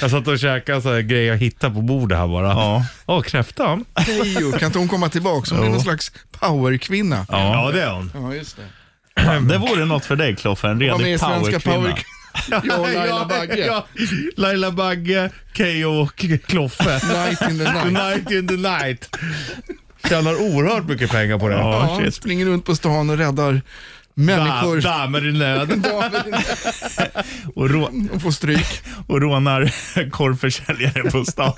[SPEAKER 4] Jag satt och käkade så här grejer jag hittade på bordet här bara. Ja, kräftan.
[SPEAKER 3] Keyyo. Kan inte hon komma tillbaka? Hon är någon slags powerkvinna. Ja.
[SPEAKER 4] Ja, det är hon.
[SPEAKER 3] just det.
[SPEAKER 2] Det vore något för dig Kloffe, en
[SPEAKER 3] Var med i
[SPEAKER 2] redig
[SPEAKER 3] Svenska
[SPEAKER 2] powerkvinna.
[SPEAKER 3] Power... Jag och Laila Bagge.
[SPEAKER 4] Ja, Laila Bagge, Keyyo och K- Kloffe.
[SPEAKER 3] Night in the
[SPEAKER 4] The
[SPEAKER 3] night.
[SPEAKER 4] night in the night. Tjänar oerhört mycket pengar på det.
[SPEAKER 2] Ja,
[SPEAKER 3] Ja,
[SPEAKER 2] shit.
[SPEAKER 3] springer runt på stan och räddar människor.
[SPEAKER 4] Da- Damer i nöd.
[SPEAKER 3] Damer
[SPEAKER 2] Och, rå-
[SPEAKER 3] och får stryk
[SPEAKER 2] och rånar korvförsäljare på stan.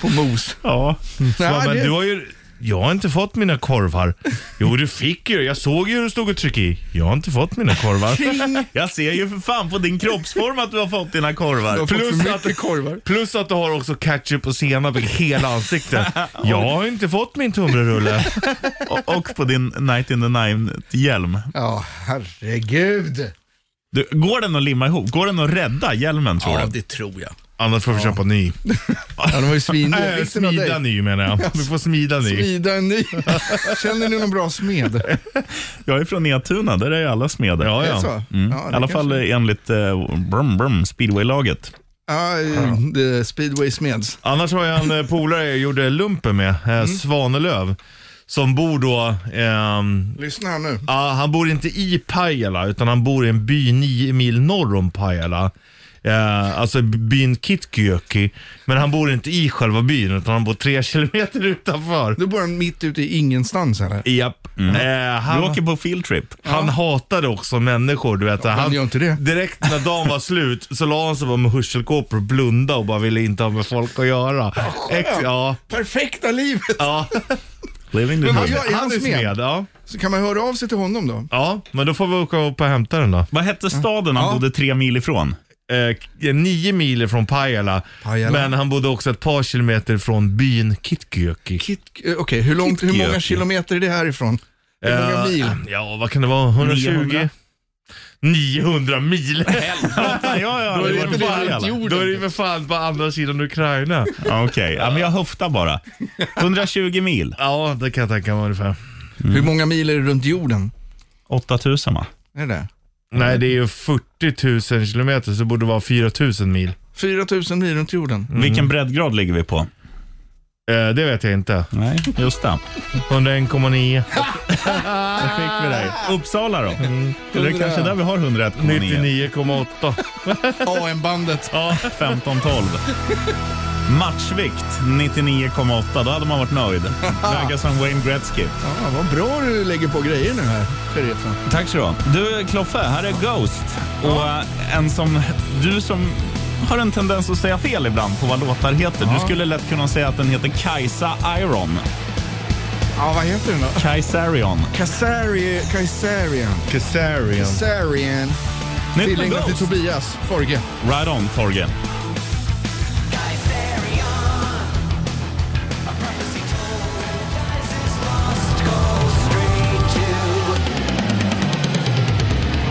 [SPEAKER 3] på mos.
[SPEAKER 2] Ja.
[SPEAKER 4] Mm. Ja,
[SPEAKER 3] Nej,
[SPEAKER 4] men
[SPEAKER 3] det-
[SPEAKER 4] du har ju... Jag har inte fått mina korvar. Jo, du fick ju. Jag såg ju hur du stod och tryckte i. Jag har inte fått mina korvar.
[SPEAKER 2] Jag ser ju för fan på din kroppsform att du har fått dina
[SPEAKER 3] Du
[SPEAKER 2] korvar.
[SPEAKER 3] har fått
[SPEAKER 4] Plus
[SPEAKER 3] för
[SPEAKER 4] att-
[SPEAKER 3] mycket korvar.
[SPEAKER 4] Plus att du har också ketchup och senap i hela ansiktet. Jag har inte fått min tunnbrödsrulle.
[SPEAKER 2] Och, och på din Night in the Night-hjälm.
[SPEAKER 3] Ja, herregud.
[SPEAKER 2] Du, Går den att limma ihop? Går den att rädda hjälmen tror
[SPEAKER 3] Ja,
[SPEAKER 2] du?
[SPEAKER 3] det tror jag.
[SPEAKER 4] Annars får vi köpa ny.
[SPEAKER 3] Ja, de var ju svindyra.
[SPEAKER 4] Nej,
[SPEAKER 3] Fick du någon av
[SPEAKER 4] smida
[SPEAKER 3] dig?
[SPEAKER 4] ny menar jag. Vi får smida ny.
[SPEAKER 3] Smida en ny. Känner ni någon bra smed?
[SPEAKER 2] Jag är från Netuna, där är ju alla smeder.
[SPEAKER 4] Ja,
[SPEAKER 3] Är det så?
[SPEAKER 4] ja.
[SPEAKER 2] Mm.
[SPEAKER 3] Ja,
[SPEAKER 2] I
[SPEAKER 3] det
[SPEAKER 2] alla
[SPEAKER 3] kanske-
[SPEAKER 2] fall enligt eh, brum, brum, speedway-laget.
[SPEAKER 3] Ja, eh, the Speedway Smeds.
[SPEAKER 4] Annars har jag en eh, polare jag gjorde lumpen med, eh, Svanelöv, som bor då ehm,
[SPEAKER 3] Lyssna här nu.
[SPEAKER 4] Ja, han bor inte i Pajala utan han bor i en by nio mil norr om Pajala. Eh, alltså byn Kitkiöki. Men han bor inte i själva byn utan han bor tre kilometer utanför.
[SPEAKER 3] Då bor han mitt ute i ingenstans eller?
[SPEAKER 4] Japp. Eh,
[SPEAKER 2] Du
[SPEAKER 4] han,
[SPEAKER 2] åker på fieldtrip.
[SPEAKER 4] han hatade också människor. Du vet.
[SPEAKER 3] han gör inte det.
[SPEAKER 4] Direkt när dagen var slut så la han sig bara med hörselkåpor och blundade och bara ville inte ha med folk att göra. Ex- ja.
[SPEAKER 3] Perfekta livet!
[SPEAKER 4] ja.
[SPEAKER 2] Living the
[SPEAKER 3] Men vad
[SPEAKER 2] dream.
[SPEAKER 3] gör- är han smed?
[SPEAKER 4] Ja.
[SPEAKER 3] Så kan man höra av sig till honom då?
[SPEAKER 4] ja, men då får vi åka upp och hämta den då.
[SPEAKER 2] Vad hette staden han bodde tre mil ifrån?
[SPEAKER 4] eh, k- nio mil från Pajala,
[SPEAKER 3] Pajala.
[SPEAKER 4] Men han bodde också ett par kilometer från byn Kitkiöki.
[SPEAKER 3] Kit, eh, Okej, hur, långt- hur många
[SPEAKER 2] Kitkiöki.
[SPEAKER 3] kilometer är det härifrån? Hur många
[SPEAKER 4] Eh,
[SPEAKER 3] mil?
[SPEAKER 4] Ja, vad kan det vara? 120?
[SPEAKER 2] 900?
[SPEAKER 4] 900 mil!
[SPEAKER 2] ja, ja,
[SPEAKER 4] Då är
[SPEAKER 3] det
[SPEAKER 4] det
[SPEAKER 3] var
[SPEAKER 4] för
[SPEAKER 3] inte
[SPEAKER 4] fan-
[SPEAKER 3] runt jorden.
[SPEAKER 4] då är det för fan på andra sidan Ukraina.
[SPEAKER 2] Okej, ja, men jag höftar bara. 120 mil.
[SPEAKER 4] Ja, det kan jag tänka mig ungefär.
[SPEAKER 3] Hur många mil är det runt jorden?
[SPEAKER 2] 8000 va?
[SPEAKER 3] Är det det?
[SPEAKER 4] Nej, det är ju 40 000 kilometer så det borde vara 4 000 mil.
[SPEAKER 3] 4000 mil runt jorden.
[SPEAKER 2] Vilken breddgrad ligger vi på?
[SPEAKER 4] Eh, det vet jag inte.
[SPEAKER 2] Nej, just det.
[SPEAKER 4] 101,9.
[SPEAKER 2] Där fick vi dig. Uppsala då? Eller det är kanske där vi har 101,9?
[SPEAKER 4] 99,8.
[SPEAKER 3] AM-bandet.
[SPEAKER 2] Ja, 15-12. Matchvikt 99,8. Då hade man varit nöjd. Väga som Wayne Gretzky.
[SPEAKER 3] Ja, vad bra du lägger på grejer nu här, sheriffen.
[SPEAKER 2] Tack så du ha. Du Kloffe, här är Ghost. Och eh, en som, du som har en tendens att säga fel ibland på vad låtar heter. Du skulle lätt kunna säga att den heter Kajsa Iron.
[SPEAKER 3] Ja, vad heter den då?
[SPEAKER 2] Kaisarion.
[SPEAKER 3] Kaisari, Kaisarian.
[SPEAKER 4] Kesarian.
[SPEAKER 3] Kaisarian.
[SPEAKER 2] Nytt med
[SPEAKER 3] Tillägnat till
[SPEAKER 2] Ghost.
[SPEAKER 3] Tobias Forge.
[SPEAKER 2] Right on, Torge.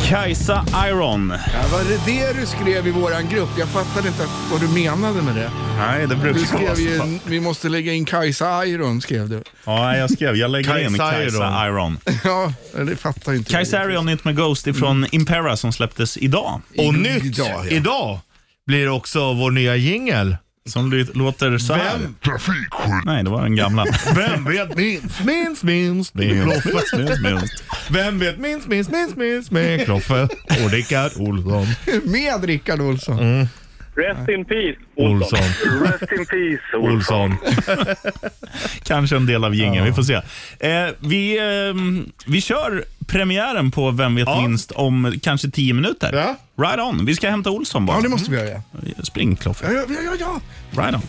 [SPEAKER 2] Kajsa Iron.
[SPEAKER 3] Ja, var det det du skrev i våran grupp? Jag fattade inte vad du menade med det.
[SPEAKER 2] Nej, det brukar
[SPEAKER 3] Du skrev ju,
[SPEAKER 2] så.
[SPEAKER 3] vi måste lägga in Kajsa Iron, skrev du.
[SPEAKER 2] Ja, jag skrev. Jag lägger in
[SPEAKER 4] Kajsa
[SPEAKER 2] Kajsa Iron.
[SPEAKER 3] Ja, det fattar inte jag.
[SPEAKER 2] Kajsa Iron, nytt med Ghost ifrån Impera som släpptes idag.
[SPEAKER 4] Och
[SPEAKER 3] I-
[SPEAKER 4] nytt
[SPEAKER 3] idag,
[SPEAKER 4] idag,
[SPEAKER 3] ja.
[SPEAKER 4] blir också vår nya jingel.
[SPEAKER 2] Som ly- låter så här.
[SPEAKER 4] Vem?
[SPEAKER 2] Nej, det var den gamla.
[SPEAKER 4] Vem vet minst, minst, minst med Kloffe? Vem vet minst, minst, minst, minst med Kloffe? Och Rickard Olsson.
[SPEAKER 3] Med Rickard Olsson.
[SPEAKER 9] Rest in peace,
[SPEAKER 4] Olsson.
[SPEAKER 9] Rest in peace,
[SPEAKER 4] Olsson.
[SPEAKER 2] Kanske en del av gingen, vi får se. Eh, vi, ehm, vi kör premiären på Vem vet
[SPEAKER 4] Ja.
[SPEAKER 2] minst om kanske tio minuter.
[SPEAKER 4] Ja.
[SPEAKER 2] Right on. Vi ska hämta Olsson bara.
[SPEAKER 3] Ja, det måste vi göra.
[SPEAKER 2] Spring, Kloffe.
[SPEAKER 3] Ja, ja, ja, ja.
[SPEAKER 2] Right on.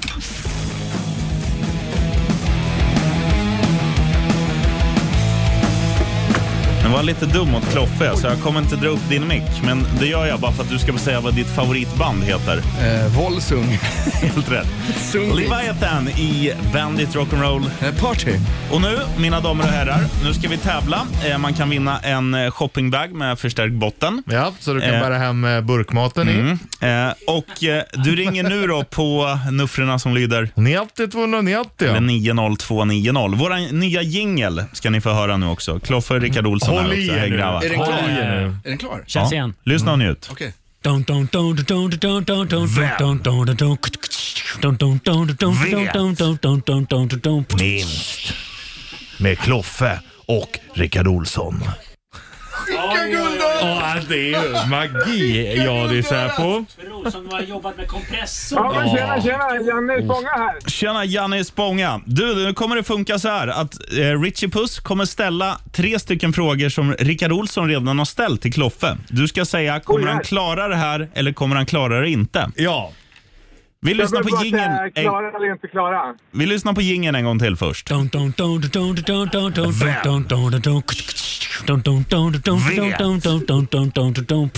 [SPEAKER 2] Den var lite dum mot Kloffe, så jag kommer inte dra upp din mick. Men det gör jag bara för att du ska få säga vad ditt favoritband heter.
[SPEAKER 3] ja. Eh, Volsung.
[SPEAKER 2] Helt rätt.
[SPEAKER 3] Sung.
[SPEAKER 2] Leviathan i Bandit Rock'n'Roll.
[SPEAKER 3] Eh, Party.
[SPEAKER 2] Och nu, mina damer och herrar, nu ska vi tävla. Eh, Man kan vinna en eh, shoppingbag med förstärkt botten.
[SPEAKER 4] Ja, så du kan
[SPEAKER 2] Eh.
[SPEAKER 4] bära hem eh, burkmaten i.
[SPEAKER 2] Eh, och eh, du ringer nu då på nuffrorna som lyder
[SPEAKER 4] 90 290.
[SPEAKER 2] eller 90290. Vår nya jingel ska ni få höra nu också. Kloffe och Rickard Olsson
[SPEAKER 4] Håll
[SPEAKER 2] här
[SPEAKER 4] i
[SPEAKER 2] också.
[SPEAKER 4] er
[SPEAKER 2] Hej
[SPEAKER 4] nu.
[SPEAKER 2] grabbar.
[SPEAKER 3] Är den klar?
[SPEAKER 4] Håll i er nu.
[SPEAKER 3] Är den klar?
[SPEAKER 8] Känns igen.
[SPEAKER 2] Lyssna och njut.
[SPEAKER 3] Okej.
[SPEAKER 8] Vem?
[SPEAKER 4] Minst med Kloffe och Rickard Olsson.
[SPEAKER 3] Vilka guldöron!
[SPEAKER 4] Ja, det är ju magi jag lyssnar på.
[SPEAKER 8] Som har jobbat med kompressor.
[SPEAKER 9] men tjena, tjena! Janne Spånga här.
[SPEAKER 2] Tjena, Janne Spånga. Du, nu kommer det funka så här att eh, Richie Puss kommer ställa tre stycken frågor som Rickard Olsson redan har ställt till Kloffe. Du ska säga, kommer han klara det här eller kommer han klara det inte?
[SPEAKER 4] Ja.
[SPEAKER 2] Vi lyssnar på jingeln
[SPEAKER 9] jingeln.
[SPEAKER 2] en,
[SPEAKER 9] Klara eller inte klara?
[SPEAKER 2] vi lyssnar på jingeln en gång till först.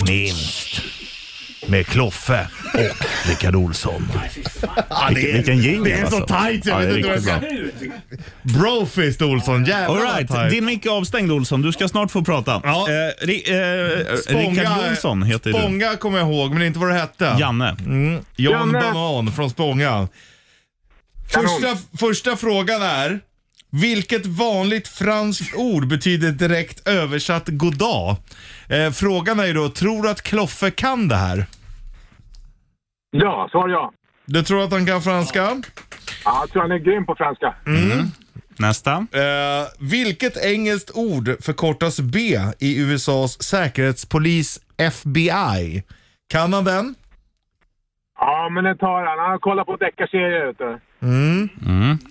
[SPEAKER 8] Vem?
[SPEAKER 4] Minst med Kloffe och Rickard Olsson. Ja, det är,
[SPEAKER 2] Vilken jingel
[SPEAKER 4] det är så
[SPEAKER 2] alltså.
[SPEAKER 4] tight jag
[SPEAKER 2] Ja, det
[SPEAKER 4] vet
[SPEAKER 2] är
[SPEAKER 4] inte vad jag ska. Brofist Olsson, jävlar vad
[SPEAKER 2] Alright,
[SPEAKER 4] tight.
[SPEAKER 2] din mick är avstängd Olsson. Du ska snart få prata.
[SPEAKER 4] Ja.
[SPEAKER 2] Eh, ri, eh, Rickard Olsson heter du.
[SPEAKER 4] Spånga kommer jag ihåg, men inte vad det hette.
[SPEAKER 2] Janne.
[SPEAKER 4] Mm. John
[SPEAKER 9] Janne.
[SPEAKER 4] Banan från Spånga. Första, första frågan är, vilket vanligt franskt ord betyder direkt översatt goddag? Eh, frågan är ju då, tror du att Kloffe kan det här?
[SPEAKER 9] Ja, svar ja.
[SPEAKER 4] Du tror att han kan franska?
[SPEAKER 9] Ja, jag tror han är grym på franska.
[SPEAKER 2] Nästa.
[SPEAKER 4] Eh, vilket engelskt ord förkortas B i USAs säkerhetspolis FBI? Kan han den?
[SPEAKER 9] Ja, men det tar han. Han kollar på deckarserier ute.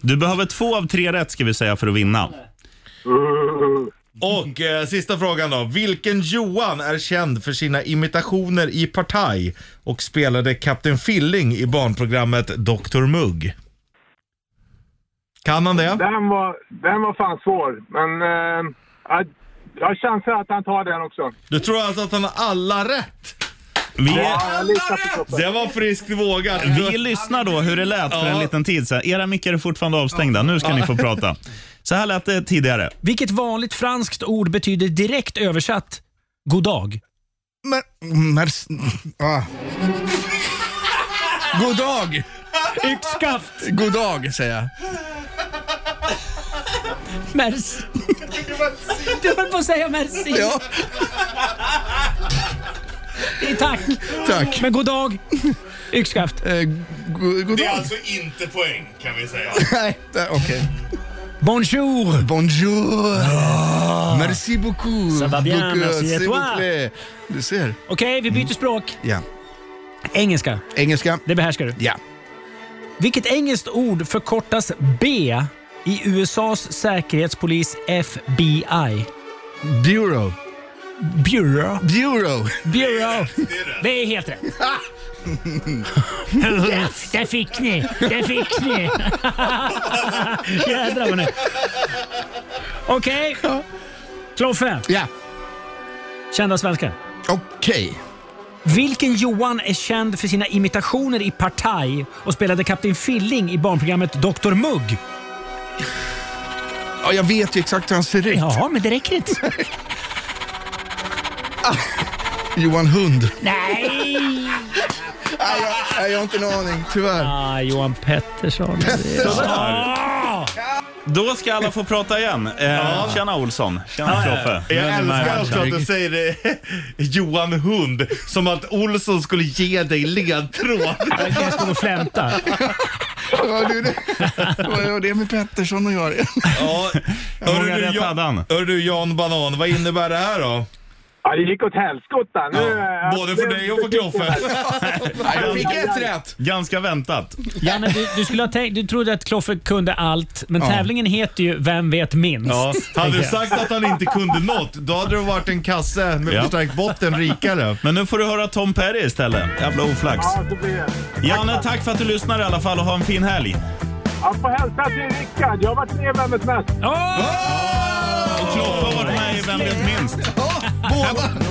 [SPEAKER 2] Du behöver två av tre rätt ska vi säga för att vinna.
[SPEAKER 9] Uh,
[SPEAKER 4] Och eh, sista frågan då. Vilken Johan är känd för sina imitationer i Partaj och spelade Kapten Filling i barnprogrammet Dr Mugg? Kan han det?
[SPEAKER 9] den, var, den var fan svår, men eh, jag, jag chansar att han tar den också.
[SPEAKER 4] Du tror alltså att han har alla rätt?
[SPEAKER 2] Vi,
[SPEAKER 9] Ja, jag litar på Kloffe.
[SPEAKER 4] Det var friskt vågat.
[SPEAKER 2] vi lyssnar då hur det lät för
[SPEAKER 4] Ja.
[SPEAKER 2] en liten tid sedan. Era mickar är fortfarande avstängda. Nu ska ni få prata. Så här lät det tidigare.
[SPEAKER 10] Vilket vanligt franskt ord betyder direkt översatt god dag?
[SPEAKER 3] Mer, mer, ah. God dag!
[SPEAKER 10] Yxskaft!
[SPEAKER 3] God dag, säger jag.
[SPEAKER 8] Merci. Du höll på att säga merci.
[SPEAKER 3] Ja,
[SPEAKER 8] Tack.
[SPEAKER 3] tack.
[SPEAKER 10] Eh, Men god dag! Yxskaft.
[SPEAKER 3] Eh, go, god dag.
[SPEAKER 4] alltså inte poäng kan vi säga.
[SPEAKER 3] Nej, där, okej.
[SPEAKER 10] Bonjour!
[SPEAKER 3] Bonjour! Merci beaucoup.
[SPEAKER 10] Ça va bien,
[SPEAKER 3] Beaucoup,
[SPEAKER 10] merci à
[SPEAKER 3] s'il
[SPEAKER 10] toi.
[SPEAKER 3] vous plaît. Du ser.
[SPEAKER 10] Okej, vi byter språk.
[SPEAKER 3] Ja.
[SPEAKER 10] Engelska.
[SPEAKER 3] Engelska.
[SPEAKER 10] Det behärskar du.
[SPEAKER 3] Ja.
[SPEAKER 10] Vilket engelskt ord förkortas B i USAs säkerhetspolis FBI?
[SPEAKER 3] Bureau.
[SPEAKER 10] Bureau.
[SPEAKER 3] Bureau.
[SPEAKER 10] Bureau. Det är helt rätt. Yes! Där fick ni! Där fick ni! Jädrar vad ni... Okej. Kloffe,
[SPEAKER 3] Ja.
[SPEAKER 10] kända svenskar.
[SPEAKER 3] Okej.
[SPEAKER 10] Vilken Johan är känd för sina imitationer i Partaj och spelade Kapten Filling i barnprogrammet Dr Mugg?
[SPEAKER 3] Ja, jag vet ju exakt hur han ser ut.
[SPEAKER 10] Ja, men det räcker inte.
[SPEAKER 3] Johan Hund.
[SPEAKER 10] Nej!
[SPEAKER 3] Nej, jag, nej, jag har inte en aning, tyvärr.
[SPEAKER 10] Ah, Johan Pettersson.
[SPEAKER 2] Då ska alla få prata igen. Eh, Tjena Olsson. Tjena Kloffe.
[SPEAKER 4] Jag
[SPEAKER 2] Nu är ni
[SPEAKER 4] älskar
[SPEAKER 2] med.
[SPEAKER 4] också att du säger det, Johan Hund, som att Olsson skulle ge dig ledtråd.
[SPEAKER 10] Jag står och flämtar.
[SPEAKER 3] Ja, du, det, vad gör det med Pettersson och jag?
[SPEAKER 4] Ja.
[SPEAKER 2] många
[SPEAKER 4] Hörru
[SPEAKER 2] rätt
[SPEAKER 4] du,
[SPEAKER 2] hade han?
[SPEAKER 4] Jan, hör du Jan Banan, vad innebär det här då?
[SPEAKER 9] Ja, det gick åt helskotta. Nu, eh,
[SPEAKER 4] Både för dig och för Kloffe.
[SPEAKER 3] Jag fick ett rätt.
[SPEAKER 2] Ganska väntat.
[SPEAKER 10] Janne, du, du, skulle ha tänkt, du trodde att Kloffe kunde allt, men tävlingen heter ju Vem vet minst?
[SPEAKER 4] Ja, hade du
[SPEAKER 10] jag.
[SPEAKER 4] sagt att han inte kunde något, då hade det varit en kasse med
[SPEAKER 2] Ja.
[SPEAKER 4] förstärkt botten rikare.
[SPEAKER 2] Men nu får du höra Tom Perry istället. Jävla oflax.
[SPEAKER 9] Ja, så blir det.
[SPEAKER 2] Janne, tack för att du lyssnar i alla fall och ha en fin helg.
[SPEAKER 9] Jag får hälsa till Rickard. Jag har varit med i Vem vet mest.
[SPEAKER 10] Åh!
[SPEAKER 2] Och Kloffe har varit med i Vem vet minst?
[SPEAKER 3] Båda.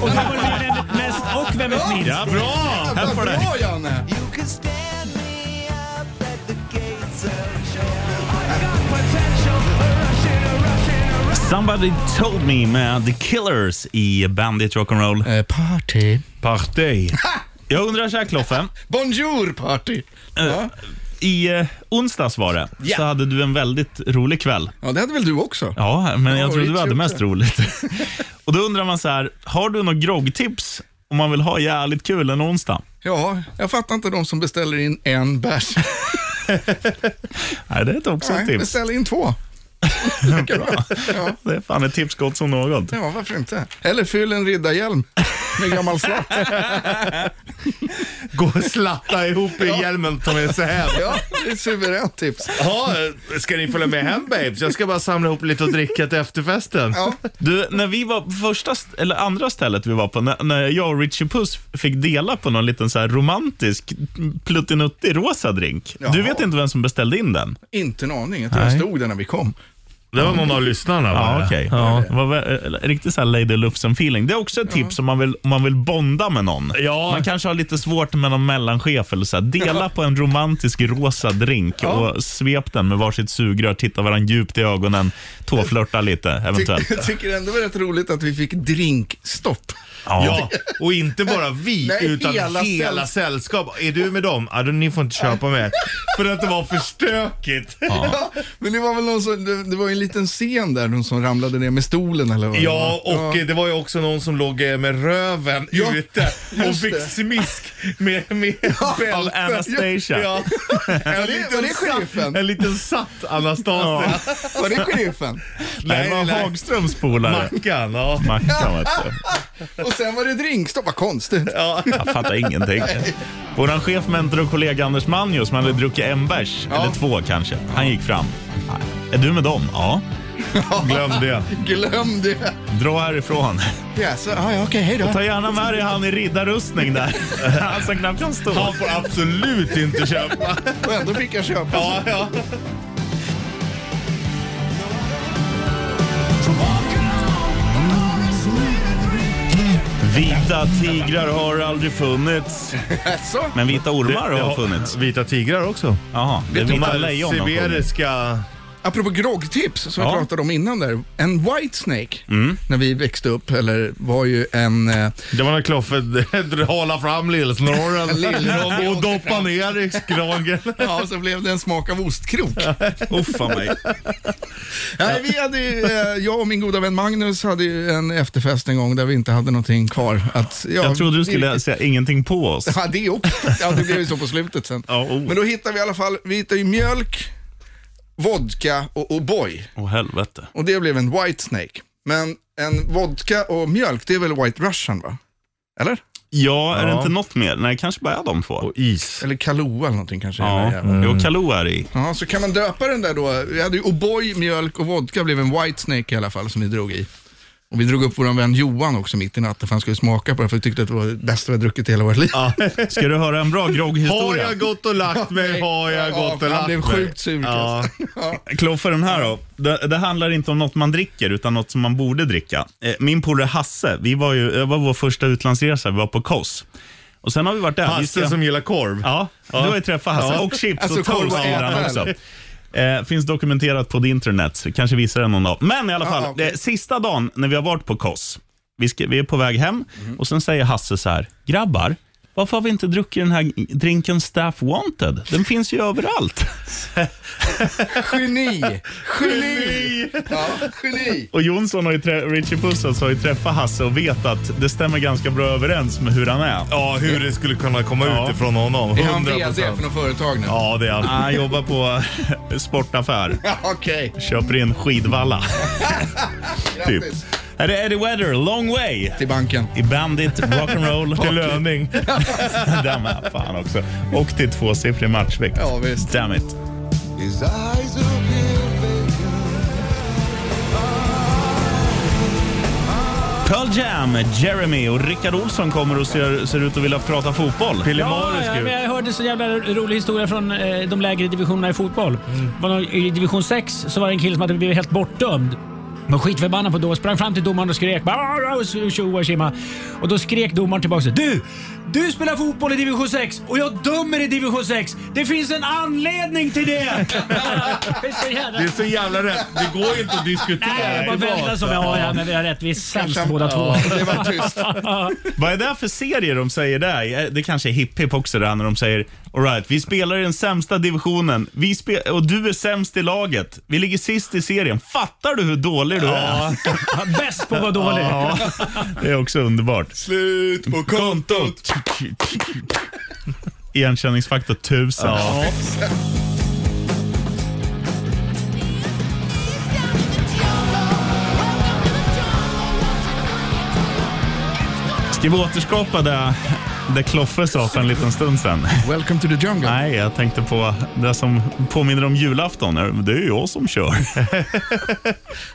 [SPEAKER 10] Och du var med Vem vet mest och Vem vet minst?
[SPEAKER 2] Ja, bra! Här får
[SPEAKER 3] Vad
[SPEAKER 2] du.
[SPEAKER 3] bra, Janne.
[SPEAKER 6] You can stand me up at the gates of show.
[SPEAKER 2] Somebody told me med The Killers i Bandit Rock'n'Roll.
[SPEAKER 3] Eh, party.
[SPEAKER 4] Parti.
[SPEAKER 2] Jag undrar så här Kloffe.
[SPEAKER 3] Bonjour, party.
[SPEAKER 2] Eh.
[SPEAKER 3] Ja.
[SPEAKER 2] I eh, onsdags var det, så hade du en väldigt rolig kväll.
[SPEAKER 3] ja, det hade väl du också?
[SPEAKER 2] Ja, men jag
[SPEAKER 3] Ja,
[SPEAKER 2] tror
[SPEAKER 3] det
[SPEAKER 2] du hade
[SPEAKER 3] tror
[SPEAKER 2] mest roligt. och då undrar man så här, har du något groggtips om man vill ha jävligt kul en onsdag?
[SPEAKER 3] Ja, jag fattar inte de som beställer in en bärs.
[SPEAKER 2] Nej, det är också ett
[SPEAKER 3] Nej,
[SPEAKER 2] tips.
[SPEAKER 3] beställ in två. Lika bra. Ja.
[SPEAKER 2] Det är fan ett tips gott som något.
[SPEAKER 3] ja, varför inte? Eller fyll en riddarhjälm med gammal slatt.
[SPEAKER 4] Gå och slatta ihop i hjälmen ta med sig hem.
[SPEAKER 3] Ja, det är ett suveränt tips.
[SPEAKER 4] Ja, ska ni följa med hem babes? Jag ska bara samla ihop lite och dricka till efterfesten.
[SPEAKER 3] Ja.
[SPEAKER 2] Du, när vi var på första, st- eller andra stället vi var på, när, när jag och Richie Puss fick dela på någon liten så här romantisk pluttinuttig rosa drink. Du
[SPEAKER 3] Jaha.
[SPEAKER 2] vet inte vem som beställde in den?
[SPEAKER 3] Inte en aning. Jag tror jag stod där när vi kom.
[SPEAKER 4] Det var någon av lyssnarna. var
[SPEAKER 2] Ja,
[SPEAKER 4] det.
[SPEAKER 2] okej.
[SPEAKER 4] Ja.
[SPEAKER 2] Det var väl, eh, riktigt så här Lady Lufsen-feeling. Det är också ett tips om man vill, om man vill bonda med någon.
[SPEAKER 4] Ja.
[SPEAKER 2] Man kanske har lite svårt med någon mellanchef. Eller så här. Dela på en romantisk rosa drink och svep den med varsitt sugrör, titta varandra djupt i ögonen, tåflörta lite
[SPEAKER 3] Ty-
[SPEAKER 2] eventuellt.
[SPEAKER 3] Jag tycker ändå det var rätt roligt att vi fick drinkstopp.
[SPEAKER 4] Ja, och inte bara vi,
[SPEAKER 3] Nej,
[SPEAKER 4] utan hela,
[SPEAKER 3] hela
[SPEAKER 4] sällskap. Är du med dem? Ja, då, ni får inte köpa med. För att det var för stökigt.
[SPEAKER 3] Men det var väl någon som, det, det var ju en liten scen där, någon som ramlade ner med stolen eller vad det
[SPEAKER 4] Ja,
[SPEAKER 3] var.
[SPEAKER 4] och eh, det var ju också någon som låg eh, med röven
[SPEAKER 3] Ja,
[SPEAKER 4] ute och
[SPEAKER 3] just
[SPEAKER 4] fick
[SPEAKER 3] det.
[SPEAKER 4] smisk med, med bälte.
[SPEAKER 2] Av Anastasia.
[SPEAKER 4] Ja. En,
[SPEAKER 3] det-
[SPEAKER 4] liten
[SPEAKER 3] var det
[SPEAKER 4] satt-
[SPEAKER 3] sheriffen?
[SPEAKER 4] en liten satt Anastasia.
[SPEAKER 3] Var det sheriffen?
[SPEAKER 2] Nej, det var Hagströms polare.
[SPEAKER 4] Mackan, ja.
[SPEAKER 2] Mackan, vet du.
[SPEAKER 3] Och sen var det drinkstopp, vad konstigt.
[SPEAKER 4] ja.
[SPEAKER 2] Jag fattar ingenting. Vår chef, mentor och kollega Anders Manjo som hade druckit en bärs,
[SPEAKER 3] Ja.
[SPEAKER 2] eller två kanske, han gick fram. "Ah, Är du med dem? Ja.
[SPEAKER 4] Glöm det.
[SPEAKER 3] Glöm det.
[SPEAKER 2] Dra härifrån.
[SPEAKER 3] Ja, så, ja, ja, okej, hej då.
[SPEAKER 2] Ta gärna med dig han i riddarrustning där. Han som knappt kan stå.
[SPEAKER 4] Han får absolut inte köpa.
[SPEAKER 3] Och ändå fick jag köpa.
[SPEAKER 4] Ja, ja.
[SPEAKER 2] Vita tigrar har aldrig funnits,
[SPEAKER 3] Alltså,
[SPEAKER 2] men vita ormar
[SPEAKER 4] Det
[SPEAKER 2] har funnits.
[SPEAKER 4] Vita tigrar också.
[SPEAKER 2] Jaha, det är
[SPEAKER 4] De
[SPEAKER 2] vita
[SPEAKER 4] här
[SPEAKER 2] lejon har funnits.
[SPEAKER 4] Sibiriska...
[SPEAKER 3] apropå groggtips som
[SPEAKER 2] Ja. Mm.
[SPEAKER 3] jag pratade om innan där. En White Snake, när vi växte upp, eller var ju en... Eh,
[SPEAKER 4] Det var när Kloffe halade fram lillsnorren
[SPEAKER 3] Lillsnorren
[SPEAKER 4] och doppade ner i kragen.
[SPEAKER 3] ja, så blev det en smak av ostkrok.
[SPEAKER 2] Uffa mig.
[SPEAKER 3] Nej, vi hade, ju, eh, jag och min goda vän Magnus hade ju en efterfest en gång där vi inte hade någonting kvar. Att, ja,
[SPEAKER 2] Jag trodde du
[SPEAKER 3] vi-
[SPEAKER 2] skulle säga ingenting på oss.
[SPEAKER 3] Ja, det också. Ja, det blev ju så på slutet sen.
[SPEAKER 2] Ja, oh.
[SPEAKER 3] Men då hittade vi i alla fall, vi hittade ju mjölk, vodka och O'boy.
[SPEAKER 2] Åh helvete.
[SPEAKER 3] Och det blev en White Snake. Men en vodka och mjölk, det är väl White Russian va? Eller?
[SPEAKER 2] Ja, är det
[SPEAKER 4] Ja.
[SPEAKER 2] inte något mer? Nej, kanske bara är de två.
[SPEAKER 4] Och is.
[SPEAKER 3] Eller Kahlua eller någonting kanske.
[SPEAKER 2] Ja,
[SPEAKER 3] Ja.
[SPEAKER 2] jo, Kaloo är det i.
[SPEAKER 3] ja, så kan man döpa den där då. Vi hade ju O'boy, mjölk och vodka blev en White Snake i alla fall som vi drog i. Och vi drog upp vår vän Johan också mitt i natten för han skulle smaka på det för vi tyckte att det var det bästa vi hade druckit i hela vårt liv.
[SPEAKER 2] Ska du höra en bra
[SPEAKER 4] Har
[SPEAKER 2] grogghistoria?
[SPEAKER 4] jag gått och lagt mig? Har jag gått och
[SPEAKER 3] Han
[SPEAKER 4] lagt mig?
[SPEAKER 3] blev sjukt sur.
[SPEAKER 4] Ja.
[SPEAKER 3] Alltså. Ja.
[SPEAKER 2] Kloffe, den här då. Det, det handlar inte om något man dricker, utan något som man borde dricka. Eh, Min polare Hasse, vi var ju, det var vår första utlandsresa, vi var på Kos. Och sen har vi varit där. vi ska-
[SPEAKER 4] Hasse som gillar korv.
[SPEAKER 2] Ja, du har ju träffat Hasse. Och chips
[SPEAKER 3] Alltså,
[SPEAKER 2] och toast
[SPEAKER 3] korv och
[SPEAKER 2] gillar han också.
[SPEAKER 3] äpple.
[SPEAKER 2] Eh, finns dokumenterat på det internet, så kanske visar det någon dag. Men i alla fall,
[SPEAKER 3] okej.
[SPEAKER 2] eh, sista dagen när vi har varit på Kos. Vi, ska, vi är på väg hem och sen säger Hasse så här, grabbar, varför har vi inte druckit den här drinken Staff Wanted? Den finns ju överallt.
[SPEAKER 3] Geni! Geni! Ja, geni!
[SPEAKER 2] Och Jonsson och Richie Pussas har ju träffat Hasse och vet att det stämmer ganska bra överens med hur han är.
[SPEAKER 4] Ja, hur det skulle kunna komma
[SPEAKER 2] Ja.
[SPEAKER 4] ut ifrån honom.
[SPEAKER 3] Är han
[SPEAKER 4] 100
[SPEAKER 3] vd för något företag nu?
[SPEAKER 4] Ja, det är han.
[SPEAKER 2] Han jobbar på sportaffär,
[SPEAKER 3] Okej,
[SPEAKER 2] köper in skidvalla. typ.
[SPEAKER 3] grattis.
[SPEAKER 2] Här är Eddie Weather, Long Way.
[SPEAKER 3] Till banken.
[SPEAKER 2] I Bandit, Rock'n'Roll.
[SPEAKER 4] Till löning.
[SPEAKER 2] Damn it, fan också. Och till tvåsiffrig matchvikt.
[SPEAKER 3] Ja, visst.
[SPEAKER 2] Damn it.
[SPEAKER 6] His eyes appear vacant.
[SPEAKER 2] Pearl Jam, Jeremy och Rickard Olsson kommer och ser, ser ut att vilja prata fotboll.
[SPEAKER 4] Pille
[SPEAKER 10] Ja,
[SPEAKER 4] Maris
[SPEAKER 10] ja,
[SPEAKER 4] gud.
[SPEAKER 10] men jag hörde så jävla rolig historia från eh, de lägre divisionerna i fotboll. Var någon- I division 6 så var det en kille som hade blivit helt bortdömd. Var skitförbannad på domaren, sprang fram till domaren och skrek "Bara, och så- tjo och tjimma." Och då skrek domaren tillbaka Du! Du spelar fotboll i division 6 och jag dömer i division 6. Det finns en anledning till det! det är så jävla...
[SPEAKER 4] Det är så jävla rätt. Det går ju inte att diskutera.
[SPEAKER 10] Nej, jag bara
[SPEAKER 4] Det är
[SPEAKER 10] vänta som jag har. Ja, men vi har rätt. Vi är sämst båda två.
[SPEAKER 3] Det var tyst.
[SPEAKER 2] Vad är det för serie de säger där? Eh, Det kanske är hiphop också det här när de säger All right, vi spelar i den sämsta divisionen vi spe- och du är sämst i laget. Vi ligger sist i serien. Fattar du hur dålig du är?
[SPEAKER 10] Bäst på att vara dålig.
[SPEAKER 2] Det är också underbart.
[SPEAKER 3] Slut på kontot.
[SPEAKER 2] Igenkänningsfaktor 1000. Ska vi återskapa det det Kloffe sa för en liten stund sedan.
[SPEAKER 3] Welcome to the jungle.
[SPEAKER 2] Nej, jag tänkte på det som påminner om julafton. Det är ju jag som kör.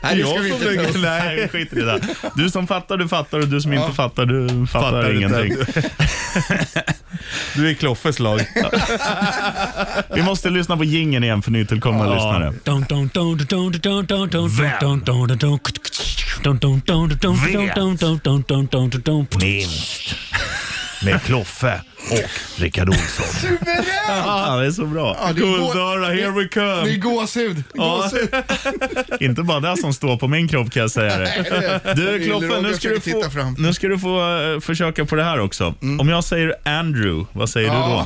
[SPEAKER 3] Nej, det ska vi inte ta upp.
[SPEAKER 2] Nej, vi skiter i det. Du som fattar, du fattar och du som inte fattar, du fattar,
[SPEAKER 4] Fattar inte.
[SPEAKER 2] ingenting.
[SPEAKER 4] Du är Kloffes lag.
[SPEAKER 2] Vi måste lyssna på gingen igen för nytillkomna lyssnare.
[SPEAKER 10] Minst.
[SPEAKER 4] Med Kloffe och Rickard Olsson.
[SPEAKER 3] Suveränt!
[SPEAKER 2] Ja, det är så bra.
[SPEAKER 3] Ja, det är gå-
[SPEAKER 2] Guldöra, here we
[SPEAKER 3] Det är
[SPEAKER 2] come.
[SPEAKER 3] gåshud. gåshud.
[SPEAKER 2] Inte bara det som står på min kropp kan jag säga det. Du
[SPEAKER 3] vill
[SPEAKER 2] Kloffe,
[SPEAKER 3] Roger
[SPEAKER 2] nu ska du
[SPEAKER 3] försöker
[SPEAKER 2] få,
[SPEAKER 3] titta fram. Mm.
[SPEAKER 2] nu ska du få eh, försöka på det här också. Om jag säger Andrew, vad säger du då?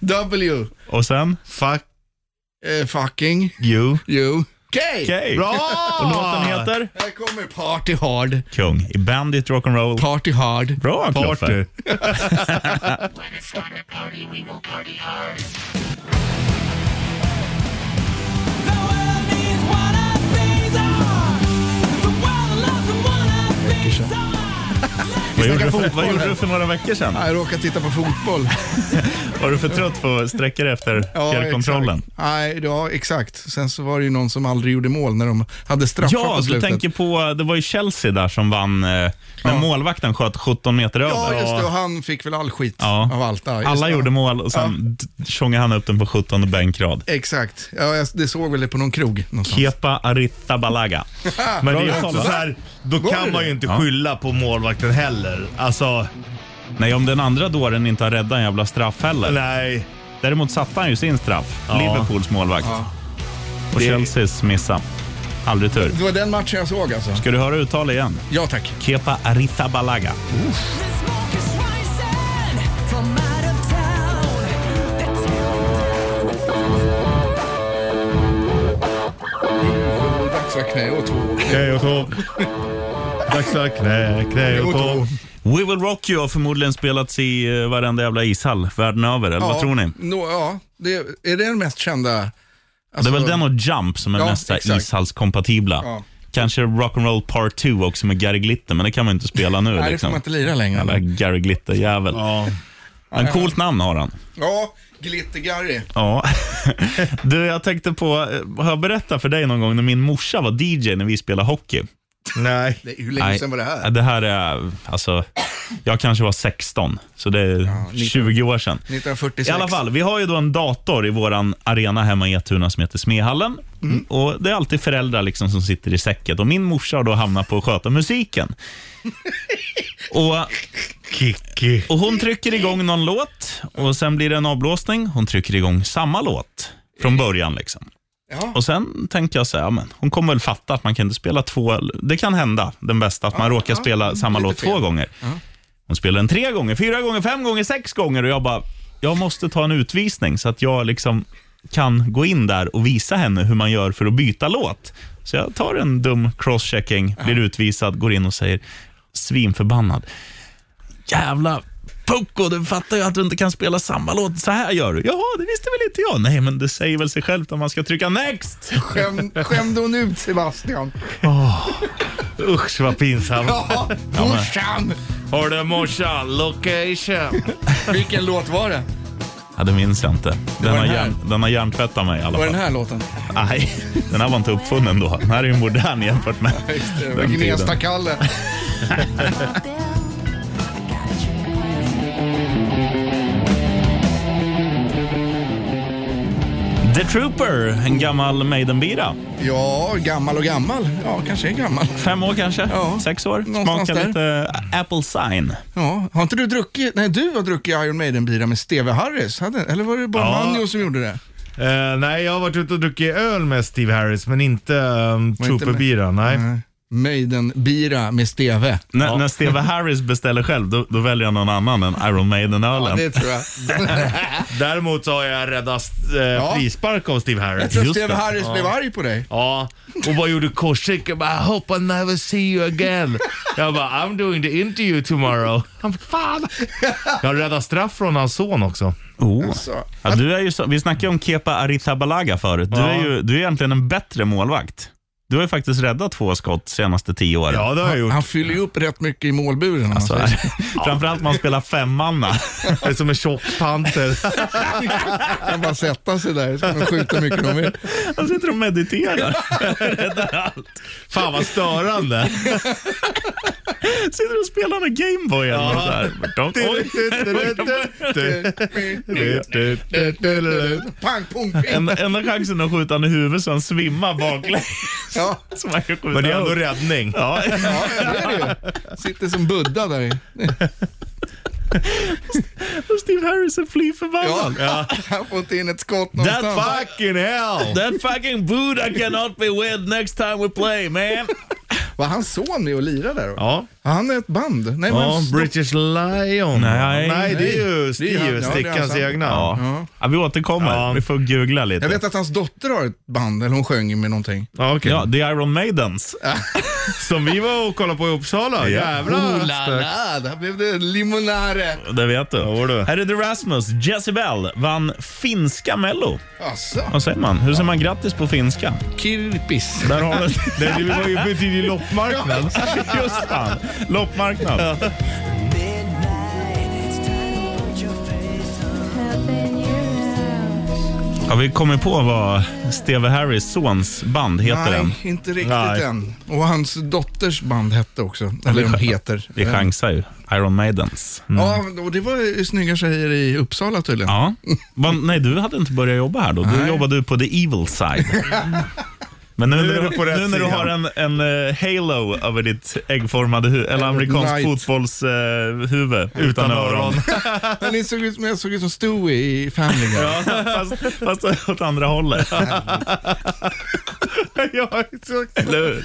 [SPEAKER 3] W.
[SPEAKER 2] Och sen?
[SPEAKER 4] Fuck
[SPEAKER 3] Eh, fucking
[SPEAKER 4] you.
[SPEAKER 3] you. K.
[SPEAKER 2] Okej.
[SPEAKER 4] Bra!
[SPEAKER 2] Och låten heter?
[SPEAKER 3] Här kommer Party Hard.
[SPEAKER 2] Kung i Bandit Rock'n'Roll.
[SPEAKER 3] Party Hard.
[SPEAKER 2] Bra Kloffe.
[SPEAKER 4] Party.
[SPEAKER 2] Vad gjorde, du för, vad gjorde du för några veckor sedan?
[SPEAKER 3] Ja, Jag råkade titta på fotboll.
[SPEAKER 2] Var du för trött på att sträcka dig efter
[SPEAKER 3] Ja,
[SPEAKER 2] fjärrkontrollen?
[SPEAKER 3] exakt. Nej, ja, exakt. Sen så var det ju någon som aldrig gjorde mål när de hade straffar
[SPEAKER 2] Ja,
[SPEAKER 3] på
[SPEAKER 2] du
[SPEAKER 3] slutet.
[SPEAKER 2] tänker på, det var ju Chelsea där som vann eh, när målvakten sköt 17 meter
[SPEAKER 3] Ja,
[SPEAKER 2] över.
[SPEAKER 3] just det. Och han fick väl all skit
[SPEAKER 2] Ja.
[SPEAKER 3] av allt. Ja, just
[SPEAKER 2] Alla
[SPEAKER 3] det.
[SPEAKER 2] gjorde mål och sen ja. tjongade han upp den på 17 bänkrad.
[SPEAKER 3] Exakt. Ja, jag, det såg väl det på någon krog någonstans.
[SPEAKER 2] Kepa Arrizabalaga.
[SPEAKER 4] Men det
[SPEAKER 2] Bra
[SPEAKER 4] är
[SPEAKER 2] jobbat,
[SPEAKER 4] också
[SPEAKER 2] va?
[SPEAKER 4] så här, då
[SPEAKER 3] Var det
[SPEAKER 4] kan man ju
[SPEAKER 3] det?
[SPEAKER 4] inte
[SPEAKER 2] Ja.
[SPEAKER 4] skylla på målvakten heller. Alltså,
[SPEAKER 2] Nej, om den andra dåren inte har räddat en jävla straff heller.
[SPEAKER 4] nej.
[SPEAKER 2] Däremot satte han ju sin straff,
[SPEAKER 4] Ja.
[SPEAKER 2] Liverpools målvakt.
[SPEAKER 3] Ja.
[SPEAKER 2] Och Chelseas missa. Aldrig tur.
[SPEAKER 3] Det var den matchen jag såg alltså.
[SPEAKER 2] Ska du höra uttalet igen?
[SPEAKER 3] Ja, tack.
[SPEAKER 2] Kepa Arrizabalaga.
[SPEAKER 3] Dags för knä och tå.
[SPEAKER 4] Knä och tå. Dags för knä, knä och tå.
[SPEAKER 2] We Will Rock You har förmodligen spelats i eh, varenda jävla ishall världen över, eller vad tror ni?
[SPEAKER 3] Nå, ja, det, är det den mest kända?
[SPEAKER 2] Det
[SPEAKER 3] Alltså,
[SPEAKER 2] är väl den och Jump som är
[SPEAKER 3] Ja,
[SPEAKER 2] mest nästa
[SPEAKER 3] exakt.
[SPEAKER 2] ishallskompatibla.
[SPEAKER 3] Ja.
[SPEAKER 2] Kanske Rock'n'Roll Part 2 också med Gary Glitter, men det kan man ju inte spela nu.
[SPEAKER 3] Nej, det får
[SPEAKER 2] liksom.
[SPEAKER 3] man inte lira längre.
[SPEAKER 2] Jävla Gary Glitter-jävel.
[SPEAKER 4] Ja.
[SPEAKER 2] Men coolt namn har han.
[SPEAKER 3] Ja, Glitter-Garry.
[SPEAKER 2] Ja. Du, jag tänkte på, eh, har jag berättat för dig någon gång när min morsa var DJ när vi spelade hockey?
[SPEAKER 4] Nej.
[SPEAKER 3] Det- Hur länge
[SPEAKER 2] Nej,
[SPEAKER 3] sedan var det här?
[SPEAKER 2] Det här är, alltså, jag kanske var 16, så det är 20 år sedan.
[SPEAKER 3] 1946.
[SPEAKER 2] I alla fall, vi har ju då en dator i vår arena hemma i Etuna som heter Smehallen.
[SPEAKER 3] Mm.
[SPEAKER 2] Och det är alltid föräldrar liksom som sitter i säcket. Och min morsa har då hamnat på att sköta musiken. och
[SPEAKER 4] Kicki.
[SPEAKER 2] och hon trycker igång någon låt och sen blir det en avblåsning. Hon trycker igång samma låt från början. liksom.
[SPEAKER 3] Ja.
[SPEAKER 2] Och sen tänker jag så här, ja, men hon kommer väl fatta att man kan inte spela två, det kan hända den bästa, att man råkar spela samma
[SPEAKER 3] lite
[SPEAKER 2] låt två
[SPEAKER 3] fel.
[SPEAKER 2] gånger. Hon spelar den tre gånger, fyra gånger, fem gånger, sex gånger och jag bara, jag måste ta en utvisning så att jag liksom kan gå in där och visa henne hur man gör för att byta låt. Så jag tar en dum crosschecking, blir utvisad, går in och säger svinförbannad jävla pucko, du fattar ju att du inte kan spela samma låt. Så här gör du. Jaha, det visste väl inte jag. Nej, men det säger väl sig självt om man ska trycka next.
[SPEAKER 3] Skäm, skämde hon ut Sebastian?
[SPEAKER 4] Usch vad pinsamt.
[SPEAKER 3] Ja, morsan!
[SPEAKER 4] Har du morsan, location.
[SPEAKER 3] Vilken låt var det?
[SPEAKER 2] Ja, det minns jag inte. Den
[SPEAKER 3] var
[SPEAKER 2] har,
[SPEAKER 3] den här.
[SPEAKER 2] hjärn, den har hjärntvättat mig i alla
[SPEAKER 3] Var det
[SPEAKER 2] fall.
[SPEAKER 3] den här låten?
[SPEAKER 2] Nej, den här var inte uppfunnen då. Den här är ju modern jämfört med
[SPEAKER 3] Det var
[SPEAKER 2] den tiden.
[SPEAKER 3] Gnesta-Kalle.
[SPEAKER 2] The Trooper, en gammal Maiden-bira.
[SPEAKER 3] Ja, gammal och gammal. Ja, kanske är gammal.
[SPEAKER 2] Fem år kanske?
[SPEAKER 3] Ja,
[SPEAKER 2] Sex år?
[SPEAKER 3] någonstans
[SPEAKER 2] Smakar
[SPEAKER 3] där.
[SPEAKER 2] lite Apple Sign.
[SPEAKER 3] Ja, har inte du druckit? Nej, du har druckit Iron Maiden-bira med Steve Harris. Hade, eller var det bara
[SPEAKER 4] Ja.
[SPEAKER 3] Manjo som gjorde det?
[SPEAKER 4] Eh, nej, jag har varit ute och druckit öl med Steve Harris, men inte um,
[SPEAKER 3] inte med-
[SPEAKER 4] Trooper-bira. Nej.
[SPEAKER 3] Nej. Maiden-bira med Steve.
[SPEAKER 2] När, när Steve Harris beställer själv, då, då väljer jag någon annan än Iron
[SPEAKER 3] Ja,
[SPEAKER 2] Maiden-ölen.
[SPEAKER 3] det tror jag.
[SPEAKER 4] Däremot så har jag räddat eh, frispark av Steve
[SPEAKER 3] Jag
[SPEAKER 4] Harris.
[SPEAKER 3] tror
[SPEAKER 2] Just
[SPEAKER 3] Steve
[SPEAKER 2] det.
[SPEAKER 3] Harris blev arg på dig.
[SPEAKER 4] Ja, och bara gjorde korsstreck. Jag bara, I hope I never see you again. Jag bara, I'm doing the interview tomorrow. Han bara, fan. Jag räddade straff från hans son också.
[SPEAKER 2] Oh.
[SPEAKER 3] Så.
[SPEAKER 2] Ja, du är ju så, vi snackade ju om Kepa Arrizabalaga förut. Du,
[SPEAKER 4] Ja.
[SPEAKER 2] är ju, du är egentligen en bättre målvakt. Du har ju faktiskt räddat två skott senaste tio åren.
[SPEAKER 4] Ja, det har jag gjort.
[SPEAKER 3] Han fyller ju upp rätt mycket i målburen. om man
[SPEAKER 2] Så
[SPEAKER 3] säger.
[SPEAKER 2] här. Framförallt man spelar femmanna.
[SPEAKER 4] Det är som en tjock panter.
[SPEAKER 3] Han kan bara sätta sig där så kan de skjuta hur mycket de vill.
[SPEAKER 2] Han sitter och mediterar.
[SPEAKER 4] Fan vad störande.
[SPEAKER 2] Sitter och spelar med Gameboy eller något sådär. Oj.
[SPEAKER 3] Pang, pong, ping.
[SPEAKER 2] En- Enda chansen att skjuta han i huvudet så han svimmar baklänges.
[SPEAKER 3] Ja,
[SPEAKER 2] Så man kan skjuta
[SPEAKER 4] Men det är ändå
[SPEAKER 2] honom.
[SPEAKER 4] räddning.
[SPEAKER 2] Ja,
[SPEAKER 3] ja, det är det ju. Sitter som Buddha där i.
[SPEAKER 2] och Steve Harris är fly förbannad.
[SPEAKER 3] Ja, han får inte in ett skott
[SPEAKER 2] That
[SPEAKER 3] någonstans.
[SPEAKER 4] Fucking hell.
[SPEAKER 2] That fucking Buddha cannot be with next time we play man.
[SPEAKER 3] Var hans son med och lirade där? då?
[SPEAKER 4] Ja.
[SPEAKER 3] Han är ett band. Nej,
[SPEAKER 4] Ja,
[SPEAKER 3] men
[SPEAKER 4] British Lion.
[SPEAKER 2] Nej.
[SPEAKER 4] det är ju
[SPEAKER 3] Det är han. Ja,
[SPEAKER 4] Steve,
[SPEAKER 3] det är han
[SPEAKER 4] Stickans
[SPEAKER 3] själv.
[SPEAKER 4] egna.
[SPEAKER 2] Ja.
[SPEAKER 3] Ja.
[SPEAKER 2] Ja, vi återkommer.
[SPEAKER 4] Ja.
[SPEAKER 2] Vi får googla
[SPEAKER 3] jag
[SPEAKER 2] lite.
[SPEAKER 3] vet att hans dotter har ett band, eller hon sjöng med någonting.
[SPEAKER 4] Ja, okej.
[SPEAKER 2] Ja, The Iron Maidens.
[SPEAKER 4] Som vi var och kollade på i Uppsala. Jävlar.
[SPEAKER 3] la, där blev det limonare.
[SPEAKER 2] Det vet du.
[SPEAKER 4] var du.
[SPEAKER 2] Här är The Rasmus. Jezebel vann finska Mello.
[SPEAKER 3] Alltså,
[SPEAKER 2] Vad säger man? Hur säger man grattis på finska?
[SPEAKER 3] kirpis.
[SPEAKER 2] Där har du
[SPEAKER 4] Nej, det var ju på tidig loppmarknad.
[SPEAKER 2] Just fan. Loppmarknad.
[SPEAKER 6] Midnight, it's time to put your face on.
[SPEAKER 2] Har vi kommit på vad Steve Harris sons band heter än?
[SPEAKER 3] Nej, inte riktigt
[SPEAKER 2] Nej.
[SPEAKER 3] än. Och hans dotters band hette också. Eller de heter.
[SPEAKER 2] Vi chansar ju. Iron Maidens.
[SPEAKER 3] Ja, och det var ju snygga tjejer i Uppsala tydligen.
[SPEAKER 2] Ja. Va, nej, du hade inte börjat jobba här då. Du jobbade ju på the evil side. Men nu,
[SPEAKER 4] Nu är
[SPEAKER 2] när,
[SPEAKER 4] du
[SPEAKER 2] du,
[SPEAKER 4] på rätt
[SPEAKER 2] nu när du
[SPEAKER 4] sida.
[SPEAKER 2] har en, en eh, halo över ditt äggformade huvud, eller amerikansk
[SPEAKER 3] knight.
[SPEAKER 2] fotbollshuvud utan,
[SPEAKER 4] Utan
[SPEAKER 2] öron.
[SPEAKER 4] öron.
[SPEAKER 3] Men ni såg ut som, jag såg ut som Stewie i Family Guy.
[SPEAKER 2] Ja, fast, fast åt andra hållet.
[SPEAKER 4] ja, exakt.
[SPEAKER 2] Eller hur?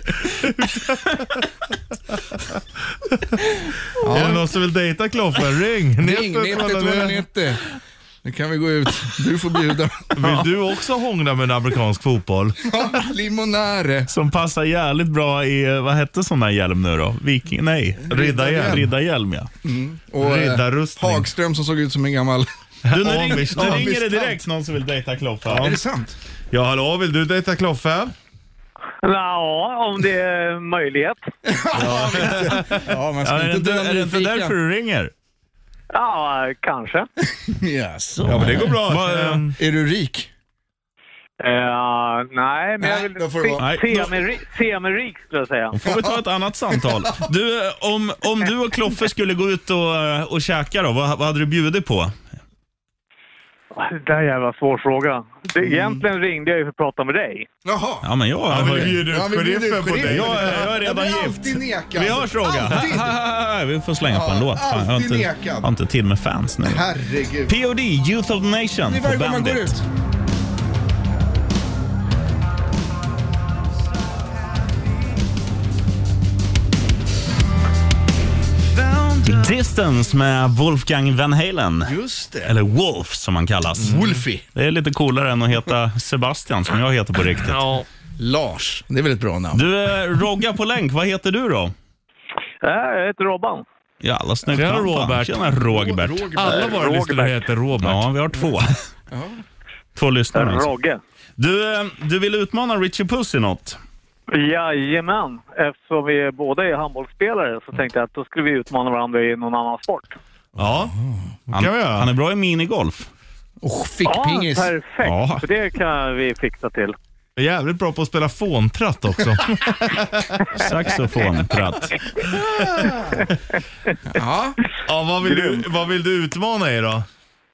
[SPEAKER 4] Är det någon som vill dejta Kloffen? Ring!
[SPEAKER 3] Ring 90-290. Nu kan vi gå ut. Du får bjuda.
[SPEAKER 4] Vill du också hångla med en amerikansk fotboll?
[SPEAKER 3] Ja, limonare.
[SPEAKER 2] Som passar jävligt bra i, eh, vad hette sån där hjälm nu då? Viking, nej, riddarhjälm. Riddarhjälm ja.
[SPEAKER 3] Och eh,
[SPEAKER 4] Riddarrustning.
[SPEAKER 3] Hagström som såg ut som en gammal...
[SPEAKER 2] Du, nu, ring,
[SPEAKER 4] Amish-
[SPEAKER 2] nu ringer det
[SPEAKER 3] Amish-tant.
[SPEAKER 2] direkt någon som vill dejta Kloffe.
[SPEAKER 3] Är
[SPEAKER 2] Ja.
[SPEAKER 3] det sant?
[SPEAKER 4] Ja, hallå, vill du dejta Kloffe?
[SPEAKER 7] Ja, om det är möjlighet.
[SPEAKER 3] Ja, man
[SPEAKER 2] Ja,
[SPEAKER 3] ska
[SPEAKER 2] är det
[SPEAKER 3] inte
[SPEAKER 2] inte,
[SPEAKER 3] dö
[SPEAKER 2] är det inte
[SPEAKER 3] nyfiken.
[SPEAKER 2] därför du ringer?
[SPEAKER 7] Ja, kanske.
[SPEAKER 3] Yes.
[SPEAKER 4] Ja, men det går bra.
[SPEAKER 2] Vad, eh,
[SPEAKER 4] Ehm,
[SPEAKER 3] Är du rik?
[SPEAKER 7] Eh, nej, men jag
[SPEAKER 3] Nej,
[SPEAKER 7] vill
[SPEAKER 3] då får det
[SPEAKER 7] se-
[SPEAKER 3] vara.
[SPEAKER 2] Nej,
[SPEAKER 7] se mig ri- se mig rik, skulle jag säga.
[SPEAKER 2] Får vi ta ett annat samtal? Du, eh, om, om du och Kloffe skulle gå ut och, eh, och käka då, vad, vad hade du bjudit på?
[SPEAKER 7] Det där är en jävla svår fråga. Det,
[SPEAKER 4] Mm.
[SPEAKER 7] egentligen ringde jag ju för att prata med dig.
[SPEAKER 3] Jaha.
[SPEAKER 2] Ja, men jag...
[SPEAKER 4] Ja, men vi
[SPEAKER 2] jag,
[SPEAKER 4] bjuder
[SPEAKER 3] Ja,
[SPEAKER 4] ut
[SPEAKER 3] vi bjuder
[SPEAKER 4] sheriffen
[SPEAKER 3] ut
[SPEAKER 4] på dig.
[SPEAKER 3] sheriffen.
[SPEAKER 4] Ja,
[SPEAKER 2] jag är
[SPEAKER 3] Jag
[SPEAKER 2] redan
[SPEAKER 3] blir
[SPEAKER 2] gift.
[SPEAKER 3] alltid nekad.
[SPEAKER 2] Vi hörs Roger. Ha,
[SPEAKER 3] Alltid.
[SPEAKER 2] ha, ha, ha. Vi får slänga på en
[SPEAKER 3] Ja,
[SPEAKER 2] låt. Fan, jag har
[SPEAKER 3] alltid
[SPEAKER 2] inte,
[SPEAKER 3] nekad.
[SPEAKER 2] jag har inte tid med fans nu.
[SPEAKER 3] Herregud.
[SPEAKER 2] POD, Youth of the Nation
[SPEAKER 3] Det
[SPEAKER 2] på
[SPEAKER 3] är varje gång man går
[SPEAKER 2] Bandit.
[SPEAKER 3] ut.
[SPEAKER 2] Distance med Wolfgang Van Halen.
[SPEAKER 3] Just det.
[SPEAKER 2] Eller Wolf som han kallas.
[SPEAKER 3] Wolfie.
[SPEAKER 2] Det är lite coolare än att heta Sebastian som jag heter på riktigt.
[SPEAKER 3] Lars. Det är väl ett bra namn?
[SPEAKER 2] Du, eh, Rogga på länk, vad heter du då?
[SPEAKER 7] Eh, jag heter Robban.
[SPEAKER 2] Jävla snyggt
[SPEAKER 4] Tjena,
[SPEAKER 2] namn, fan.
[SPEAKER 4] Robert.
[SPEAKER 2] Tjena Rogbert.
[SPEAKER 4] Alla våra lyssnare heter Robert.
[SPEAKER 2] Ja, vi har två. Två lyssnare. alltså.
[SPEAKER 7] Rogge.
[SPEAKER 2] Du, eh, du vill utmana Richie Puss i något?
[SPEAKER 7] Jajamän. Eftersom vi båda är handbollsspelare så tänkte jag att då skulle vi utmana varandra i någon annan sport.
[SPEAKER 4] Ja,
[SPEAKER 2] Mm. Han,
[SPEAKER 4] kan vi göra.
[SPEAKER 2] han är bra i minigolf.
[SPEAKER 3] Och
[SPEAKER 7] Ja,
[SPEAKER 3] fickpingis.
[SPEAKER 7] perfekt.
[SPEAKER 2] Ja.
[SPEAKER 7] För det kan vi fixa till.
[SPEAKER 4] är jävligt bra på att spela fåntratt också.
[SPEAKER 2] Saxofontratt.
[SPEAKER 3] Ja.
[SPEAKER 4] ja, vad, vill du, vad vill du utmana i då?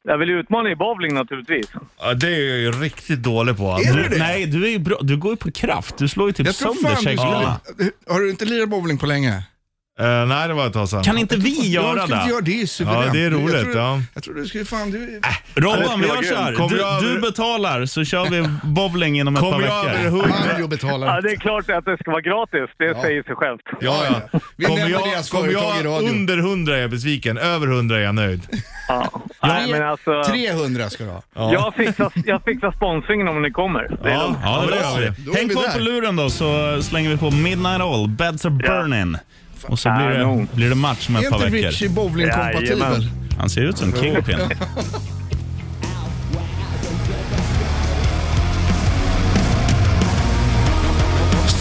[SPEAKER 7] Jag vill utmana i bowling naturligtvis.
[SPEAKER 4] Ja, det är jag ju riktigt dålig på.
[SPEAKER 3] Är
[SPEAKER 4] Alltså.
[SPEAKER 3] du det?
[SPEAKER 2] Nej, du är ju bra. Du går ju på kraft. Du slår ju typ
[SPEAKER 3] Jag tror
[SPEAKER 2] sönder
[SPEAKER 3] fan du
[SPEAKER 2] käglorna.
[SPEAKER 3] skulle... Har du inte lirat bowling på länge?
[SPEAKER 4] Eh, nej, det var ett tag sedan.
[SPEAKER 2] Kan inte vi
[SPEAKER 3] Ja,
[SPEAKER 2] göra
[SPEAKER 3] skulle inte
[SPEAKER 2] det?
[SPEAKER 3] göra det. är ju suveränt.
[SPEAKER 4] Ja, det är roligt,
[SPEAKER 3] Jag tror,
[SPEAKER 4] ja.
[SPEAKER 3] jag tror du skulle fan... Du,
[SPEAKER 2] Robban, vi
[SPEAKER 4] vara
[SPEAKER 2] gör så här.
[SPEAKER 4] grymt. Kommer jag
[SPEAKER 2] Du,
[SPEAKER 4] över-
[SPEAKER 2] du betalar så kör vi bowling inom ett par
[SPEAKER 4] Kommer jag över
[SPEAKER 2] veckor.
[SPEAKER 4] hundra?
[SPEAKER 3] Mario
[SPEAKER 7] Ja,
[SPEAKER 3] betalar.
[SPEAKER 7] det är klart att det ska vara gratis. Det säger sig självt.
[SPEAKER 4] Ja, ja.
[SPEAKER 3] Vi
[SPEAKER 4] Kommer
[SPEAKER 3] nämner
[SPEAKER 4] jag,
[SPEAKER 3] deras
[SPEAKER 4] kommer
[SPEAKER 3] företag
[SPEAKER 4] jag
[SPEAKER 3] i radio.
[SPEAKER 4] under 100 är jag besviken. Över 100 är jag nöjd.
[SPEAKER 7] Ja. Nej, men alltså,
[SPEAKER 3] 300 ska du ha.
[SPEAKER 7] jag, fixar, jag fixar sponsringen om ni kommer. Det är
[SPEAKER 4] Ja,
[SPEAKER 7] lugnt.
[SPEAKER 2] Ja,
[SPEAKER 4] ja,
[SPEAKER 2] det
[SPEAKER 4] men det gör
[SPEAKER 2] löser
[SPEAKER 4] vi.
[SPEAKER 2] vi.
[SPEAKER 3] Då är
[SPEAKER 2] Häng
[SPEAKER 3] vi
[SPEAKER 2] kvar
[SPEAKER 3] där.
[SPEAKER 2] på luren då så slänger vi på Midnight All, Beds Are Burning. Och så blir det,
[SPEAKER 7] Kanon.
[SPEAKER 2] blir det match om
[SPEAKER 3] Är
[SPEAKER 2] ett par
[SPEAKER 3] inte
[SPEAKER 2] veckor.
[SPEAKER 3] Richie bowling-kompatibel?
[SPEAKER 7] Jajamän.
[SPEAKER 2] Han ser ut som Kingpin.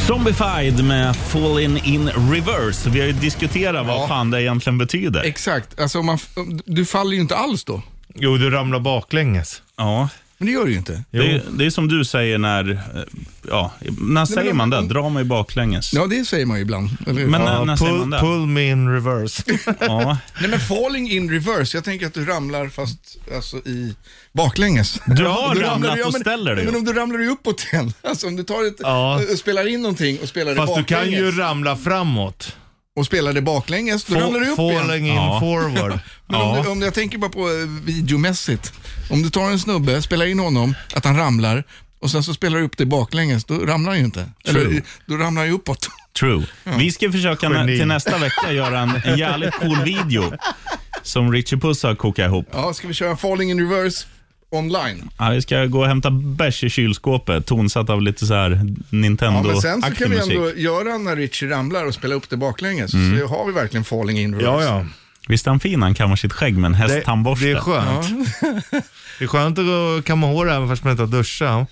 [SPEAKER 2] Zombified med Falling in Reverse. Vi har ju diskuterat vad
[SPEAKER 3] Ja.
[SPEAKER 2] fan det egentligen betyder.
[SPEAKER 3] Exakt. Alltså, om man, f- om- du faller ju inte alls då.
[SPEAKER 4] Jo, du ramlar baklänges.
[SPEAKER 2] Ja.
[SPEAKER 3] Men det gör du ju inte.
[SPEAKER 2] Det, är- det är som du säger när... eh, Ja, när säger man det? Dra mig baklänges.
[SPEAKER 3] Ja, det säger man ju ibland. Eller hur?
[SPEAKER 2] Men
[SPEAKER 4] eh,
[SPEAKER 2] när, när säger man
[SPEAKER 4] Pull,
[SPEAKER 2] det?
[SPEAKER 4] pull me in reverse.
[SPEAKER 2] Ja.
[SPEAKER 3] Nej, men falling in reverse. Jag tänker att du ramlar fast alltså, i baklänges.
[SPEAKER 2] Du har
[SPEAKER 3] Då ramlar
[SPEAKER 2] ramlat
[SPEAKER 3] du- ja,
[SPEAKER 2] och
[SPEAKER 3] men-
[SPEAKER 2] ställer dig
[SPEAKER 3] Men
[SPEAKER 2] upp.
[SPEAKER 3] om du ramlar ju uppåt igen. Alltså om du tar ett,
[SPEAKER 4] Ja.
[SPEAKER 3] och spelar in någonting och spelar
[SPEAKER 4] Fast
[SPEAKER 3] det
[SPEAKER 4] du kan
[SPEAKER 3] baklänges.
[SPEAKER 4] ju ramla framåt.
[SPEAKER 3] Och spelar det baklänges, då ramlar du upp igen.
[SPEAKER 4] Falling in
[SPEAKER 2] Ja.
[SPEAKER 4] forward.
[SPEAKER 3] Men om, du, om jag tänker bara på eh, videomässigt. Om du tar en snubbe, spelar in honom, att han ramlar och sen så spelar du upp det baklänges, då ramlar han ju inte.
[SPEAKER 2] True.
[SPEAKER 3] Eller, då ramlar han ju uppåt.
[SPEAKER 2] True. Vi ska försöka nä-
[SPEAKER 4] Geni.
[SPEAKER 2] till nästa vecka göra en, en jävligt cool video som Richie Puss har kokat ihop.
[SPEAKER 3] Ja, ska vi köra falling in reverse online?
[SPEAKER 2] Ja, vi ska gå och hämta bärs i kylskåpet, tonsatt av lite så här
[SPEAKER 3] Ja, men sen så
[SPEAKER 2] Nintendo-aktig
[SPEAKER 3] kan vi
[SPEAKER 2] musik. Mm.
[SPEAKER 3] ändå göra när Richie ramlar och spela upp det baklänges. Så har vi verkligen falling in reverse.
[SPEAKER 4] Ja, ja.
[SPEAKER 2] Visst är han fin? Han kammar sitt skägg med en
[SPEAKER 4] Det,
[SPEAKER 2] hästtandborste.
[SPEAKER 4] det är skönt. Det är skönt att kamma hår även fast man inte har duschat.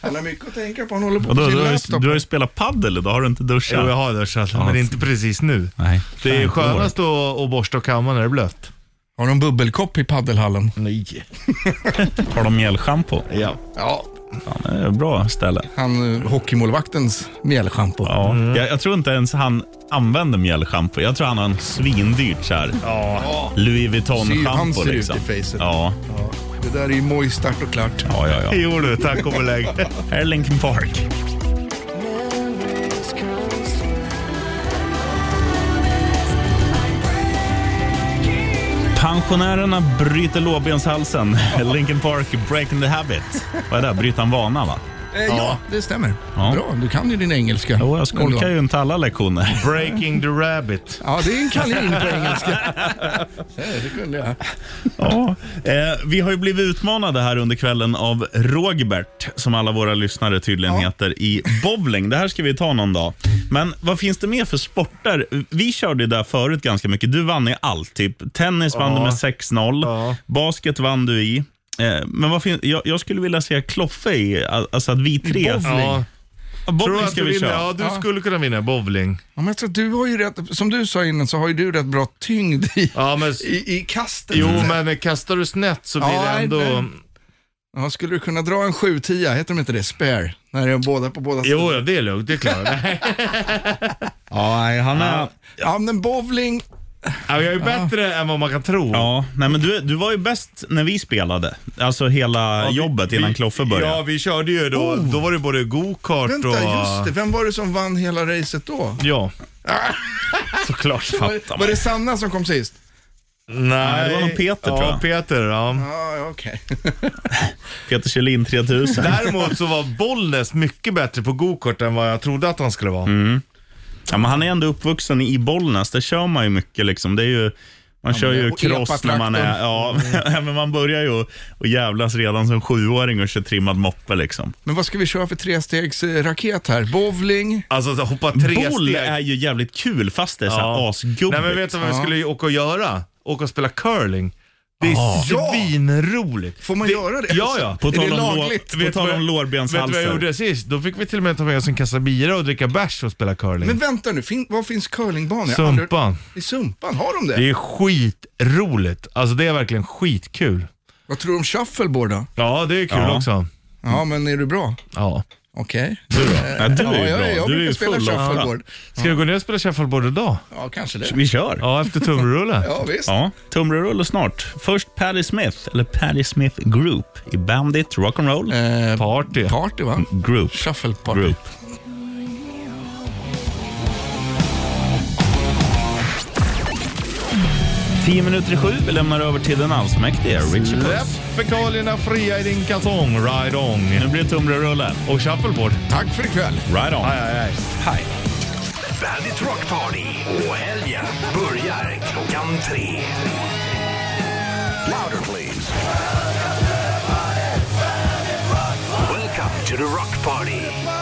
[SPEAKER 3] Han har mycket att tänka på. Han håller på
[SPEAKER 2] och då,
[SPEAKER 3] med
[SPEAKER 2] du,
[SPEAKER 3] sin
[SPEAKER 2] har ju,
[SPEAKER 3] laptop.
[SPEAKER 2] du har ju spelat paddel idag, har du inte duschat?
[SPEAKER 4] Jo, jag har duschat, men inte precis nu.
[SPEAKER 2] Nej.
[SPEAKER 4] Det är
[SPEAKER 2] Fan,
[SPEAKER 4] skönast att, att borsta och kamma när det är blött.
[SPEAKER 3] Har de bubbelkopp i paddelhallen?
[SPEAKER 4] Nej.
[SPEAKER 2] går. Har de mjällschampo?
[SPEAKER 4] Ja.
[SPEAKER 3] Ja,
[SPEAKER 2] Ja, det är ett bra ställe.
[SPEAKER 3] han eh, hockeymålvaktens mjällschampo.
[SPEAKER 2] Ja. Jag, jag tror inte ens han använder mjällschampo. Jag tror han har en svindyrt så här Louis
[SPEAKER 3] Ser ju- han
[SPEAKER 2] Vuitton-schampo.
[SPEAKER 3] ser ut
[SPEAKER 2] Liksom.
[SPEAKER 3] i facet.
[SPEAKER 2] Ja.
[SPEAKER 3] Det där är ju mojstart och klart.
[SPEAKER 2] Ja, ja, ja.
[SPEAKER 4] Det gjorde du. Tack och belägg.
[SPEAKER 2] Här är Linkin Park. Pensionärerna bryter lårbenshalsen. Linkin Park, Breaking the Habit. Vad är det? Bryta en vana, va?
[SPEAKER 3] Eh, ja, det stämmer.
[SPEAKER 2] Ja.
[SPEAKER 3] Bra, du kan ju din engelska.
[SPEAKER 2] Jo, jag skolkar
[SPEAKER 3] Ändå.
[SPEAKER 2] ju inte alla lektioner.
[SPEAKER 4] Breaking the rabbit.
[SPEAKER 3] Ja, det är en kanin på engelska. Eh, det kunde jag.
[SPEAKER 2] Ja. Eh, vi har ju blivit utmanade här under kvällen av Rogbert, som alla våra lyssnare tydligen heter, i bowling. Det här ska vi ta någon dag. Men vad finns det mer för sporter? Vi körde ju där förut ganska mycket. Du vann i allt. Typ. Tennis vann du med 6-0.
[SPEAKER 4] Ja.
[SPEAKER 2] Basket vann du i. Eh, Men vad fin- jag, jag skulle vilja se Kloffe i, al- alltså att vi tre...
[SPEAKER 4] Ja.
[SPEAKER 2] Ja, bowling
[SPEAKER 4] Tror du att
[SPEAKER 2] ska
[SPEAKER 4] du
[SPEAKER 2] vi
[SPEAKER 4] vinner?
[SPEAKER 2] köra.
[SPEAKER 4] Ja, du skulle kunna vinna bowling.
[SPEAKER 3] Ja, men jag tror att du har ju rätt, som du sa innan så har ju du rätt bra tyngd i,
[SPEAKER 4] Ja, men...
[SPEAKER 3] i, i kastet.
[SPEAKER 4] Jo, men kastar du snett så blir
[SPEAKER 3] Ja,
[SPEAKER 4] det ändå...
[SPEAKER 3] nej. Ja, skulle du kunna dra en 7-10, heter de inte det? Spare. När det är båda på båda sidor.
[SPEAKER 4] Jo, ja, det är lugnt. Det klarar jag. Nej.
[SPEAKER 2] Ja, nej, han är... Ja.
[SPEAKER 3] Ja, men bowling.
[SPEAKER 4] Ja, Jag är bättre än vad man kan tro.
[SPEAKER 2] nej, men du, du var ju bäst när vi spelade. Alltså hela
[SPEAKER 4] Ja, vi-
[SPEAKER 2] jobbet innan
[SPEAKER 4] vi-
[SPEAKER 2] Kloffe började.
[SPEAKER 4] Ja, vi körde ju då. Då var det både go-kart
[SPEAKER 3] Oh. Vänta,
[SPEAKER 4] och...
[SPEAKER 3] just det. Vem var det som vann hela racet då?
[SPEAKER 4] Ja.
[SPEAKER 2] Såklart fattar
[SPEAKER 3] Var,
[SPEAKER 2] man.
[SPEAKER 3] var det Sanna som kom sist?
[SPEAKER 4] Nej,
[SPEAKER 2] det var nog Peter,
[SPEAKER 4] ja,
[SPEAKER 2] tror jag.
[SPEAKER 4] Peter, ja.
[SPEAKER 3] Ja, ja, okej.
[SPEAKER 2] Peter Kjellin 3000.
[SPEAKER 4] Däremot så var Bollnäs mycket bättre på go-kart än vad jag trodde att han skulle vara.
[SPEAKER 2] Mm. Ja, men han är ändå uppvuxen i Bollnäs. Där kör man ju mycket. Liksom. Det är ju, man kör
[SPEAKER 3] men det-
[SPEAKER 2] ju
[SPEAKER 3] och
[SPEAKER 2] cross när man är... Ja,
[SPEAKER 4] Mm.
[SPEAKER 2] men man börjar ju att jävlas redan som sjuåring och kör trimmad moppe. Liksom.
[SPEAKER 3] Men vad ska vi köra för trestegsraket här? Bowling?
[SPEAKER 4] Alltså att hoppa tre
[SPEAKER 2] Boll
[SPEAKER 4] steg.
[SPEAKER 2] är ju jävligt kul fast det är så här
[SPEAKER 4] Nej
[SPEAKER 2] asgubbigt.
[SPEAKER 4] men vet du vad vi skulle åka och göra? Åka och spela curling. Det är svinroligt.
[SPEAKER 3] Får man göra det?
[SPEAKER 4] Ja, ja.
[SPEAKER 2] Ah. På
[SPEAKER 3] Är
[SPEAKER 2] tal
[SPEAKER 3] det
[SPEAKER 2] om, lå,
[SPEAKER 3] lagligt?
[SPEAKER 2] på
[SPEAKER 4] Vet
[SPEAKER 2] tal
[SPEAKER 4] du
[SPEAKER 2] om
[SPEAKER 4] vad- Vet du vad jag
[SPEAKER 2] lårbenshalsar.
[SPEAKER 4] gjorde sist? Då fick vi till och med ta med oss en kassa bira och dricka bärs och spela curling.
[SPEAKER 3] Men vänta nu, fin, var finns curlingbanor? Jag har aldrig-
[SPEAKER 4] Sumpan.
[SPEAKER 3] I Sumpan, har de det?
[SPEAKER 4] Det är skitroligt. Alltså det är verkligen skitkul.
[SPEAKER 3] Vad tror du om shuffleboard då?
[SPEAKER 4] Ja, det är kul
[SPEAKER 2] Ja.
[SPEAKER 4] också.
[SPEAKER 3] Ja, men är du bra?
[SPEAKER 4] Ja.
[SPEAKER 3] Okej.
[SPEAKER 2] Du då? Ja, du är ju
[SPEAKER 3] ja, jag,
[SPEAKER 2] bra.
[SPEAKER 3] jag
[SPEAKER 2] Du är
[SPEAKER 3] brukar
[SPEAKER 2] ju
[SPEAKER 3] spela
[SPEAKER 2] full av...
[SPEAKER 3] shuffleboard.
[SPEAKER 4] Ska du gå ner och spela shuffleboard idag?
[SPEAKER 3] Ja, kanske det.
[SPEAKER 2] Vi kör.
[SPEAKER 4] Ja, efter tumrulle.
[SPEAKER 3] Ja, visst.
[SPEAKER 2] Ja, tumrulle snart. Först Patti Smith, eller Patti Smith Group i Bandit Rock'n'Roll
[SPEAKER 3] Eh,
[SPEAKER 4] Party.
[SPEAKER 3] party, va?
[SPEAKER 2] Group.
[SPEAKER 3] Shuffleparty.
[SPEAKER 2] Group. Tio minuter i sju, vi lämnar över till den allsmäktige Richard
[SPEAKER 4] Släpp
[SPEAKER 2] Puss.
[SPEAKER 4] fekalierna fria i din kalsong. Ride on.
[SPEAKER 2] Nu blir det tumrulle.
[SPEAKER 4] Och shuffleboard.
[SPEAKER 3] Tack för ikväll.
[SPEAKER 2] Right on.
[SPEAKER 4] Aj, aj, aj.
[SPEAKER 6] Bandit Rock Party och helgen börjar klockan tre. Louder please. Welcome to the Rock Party.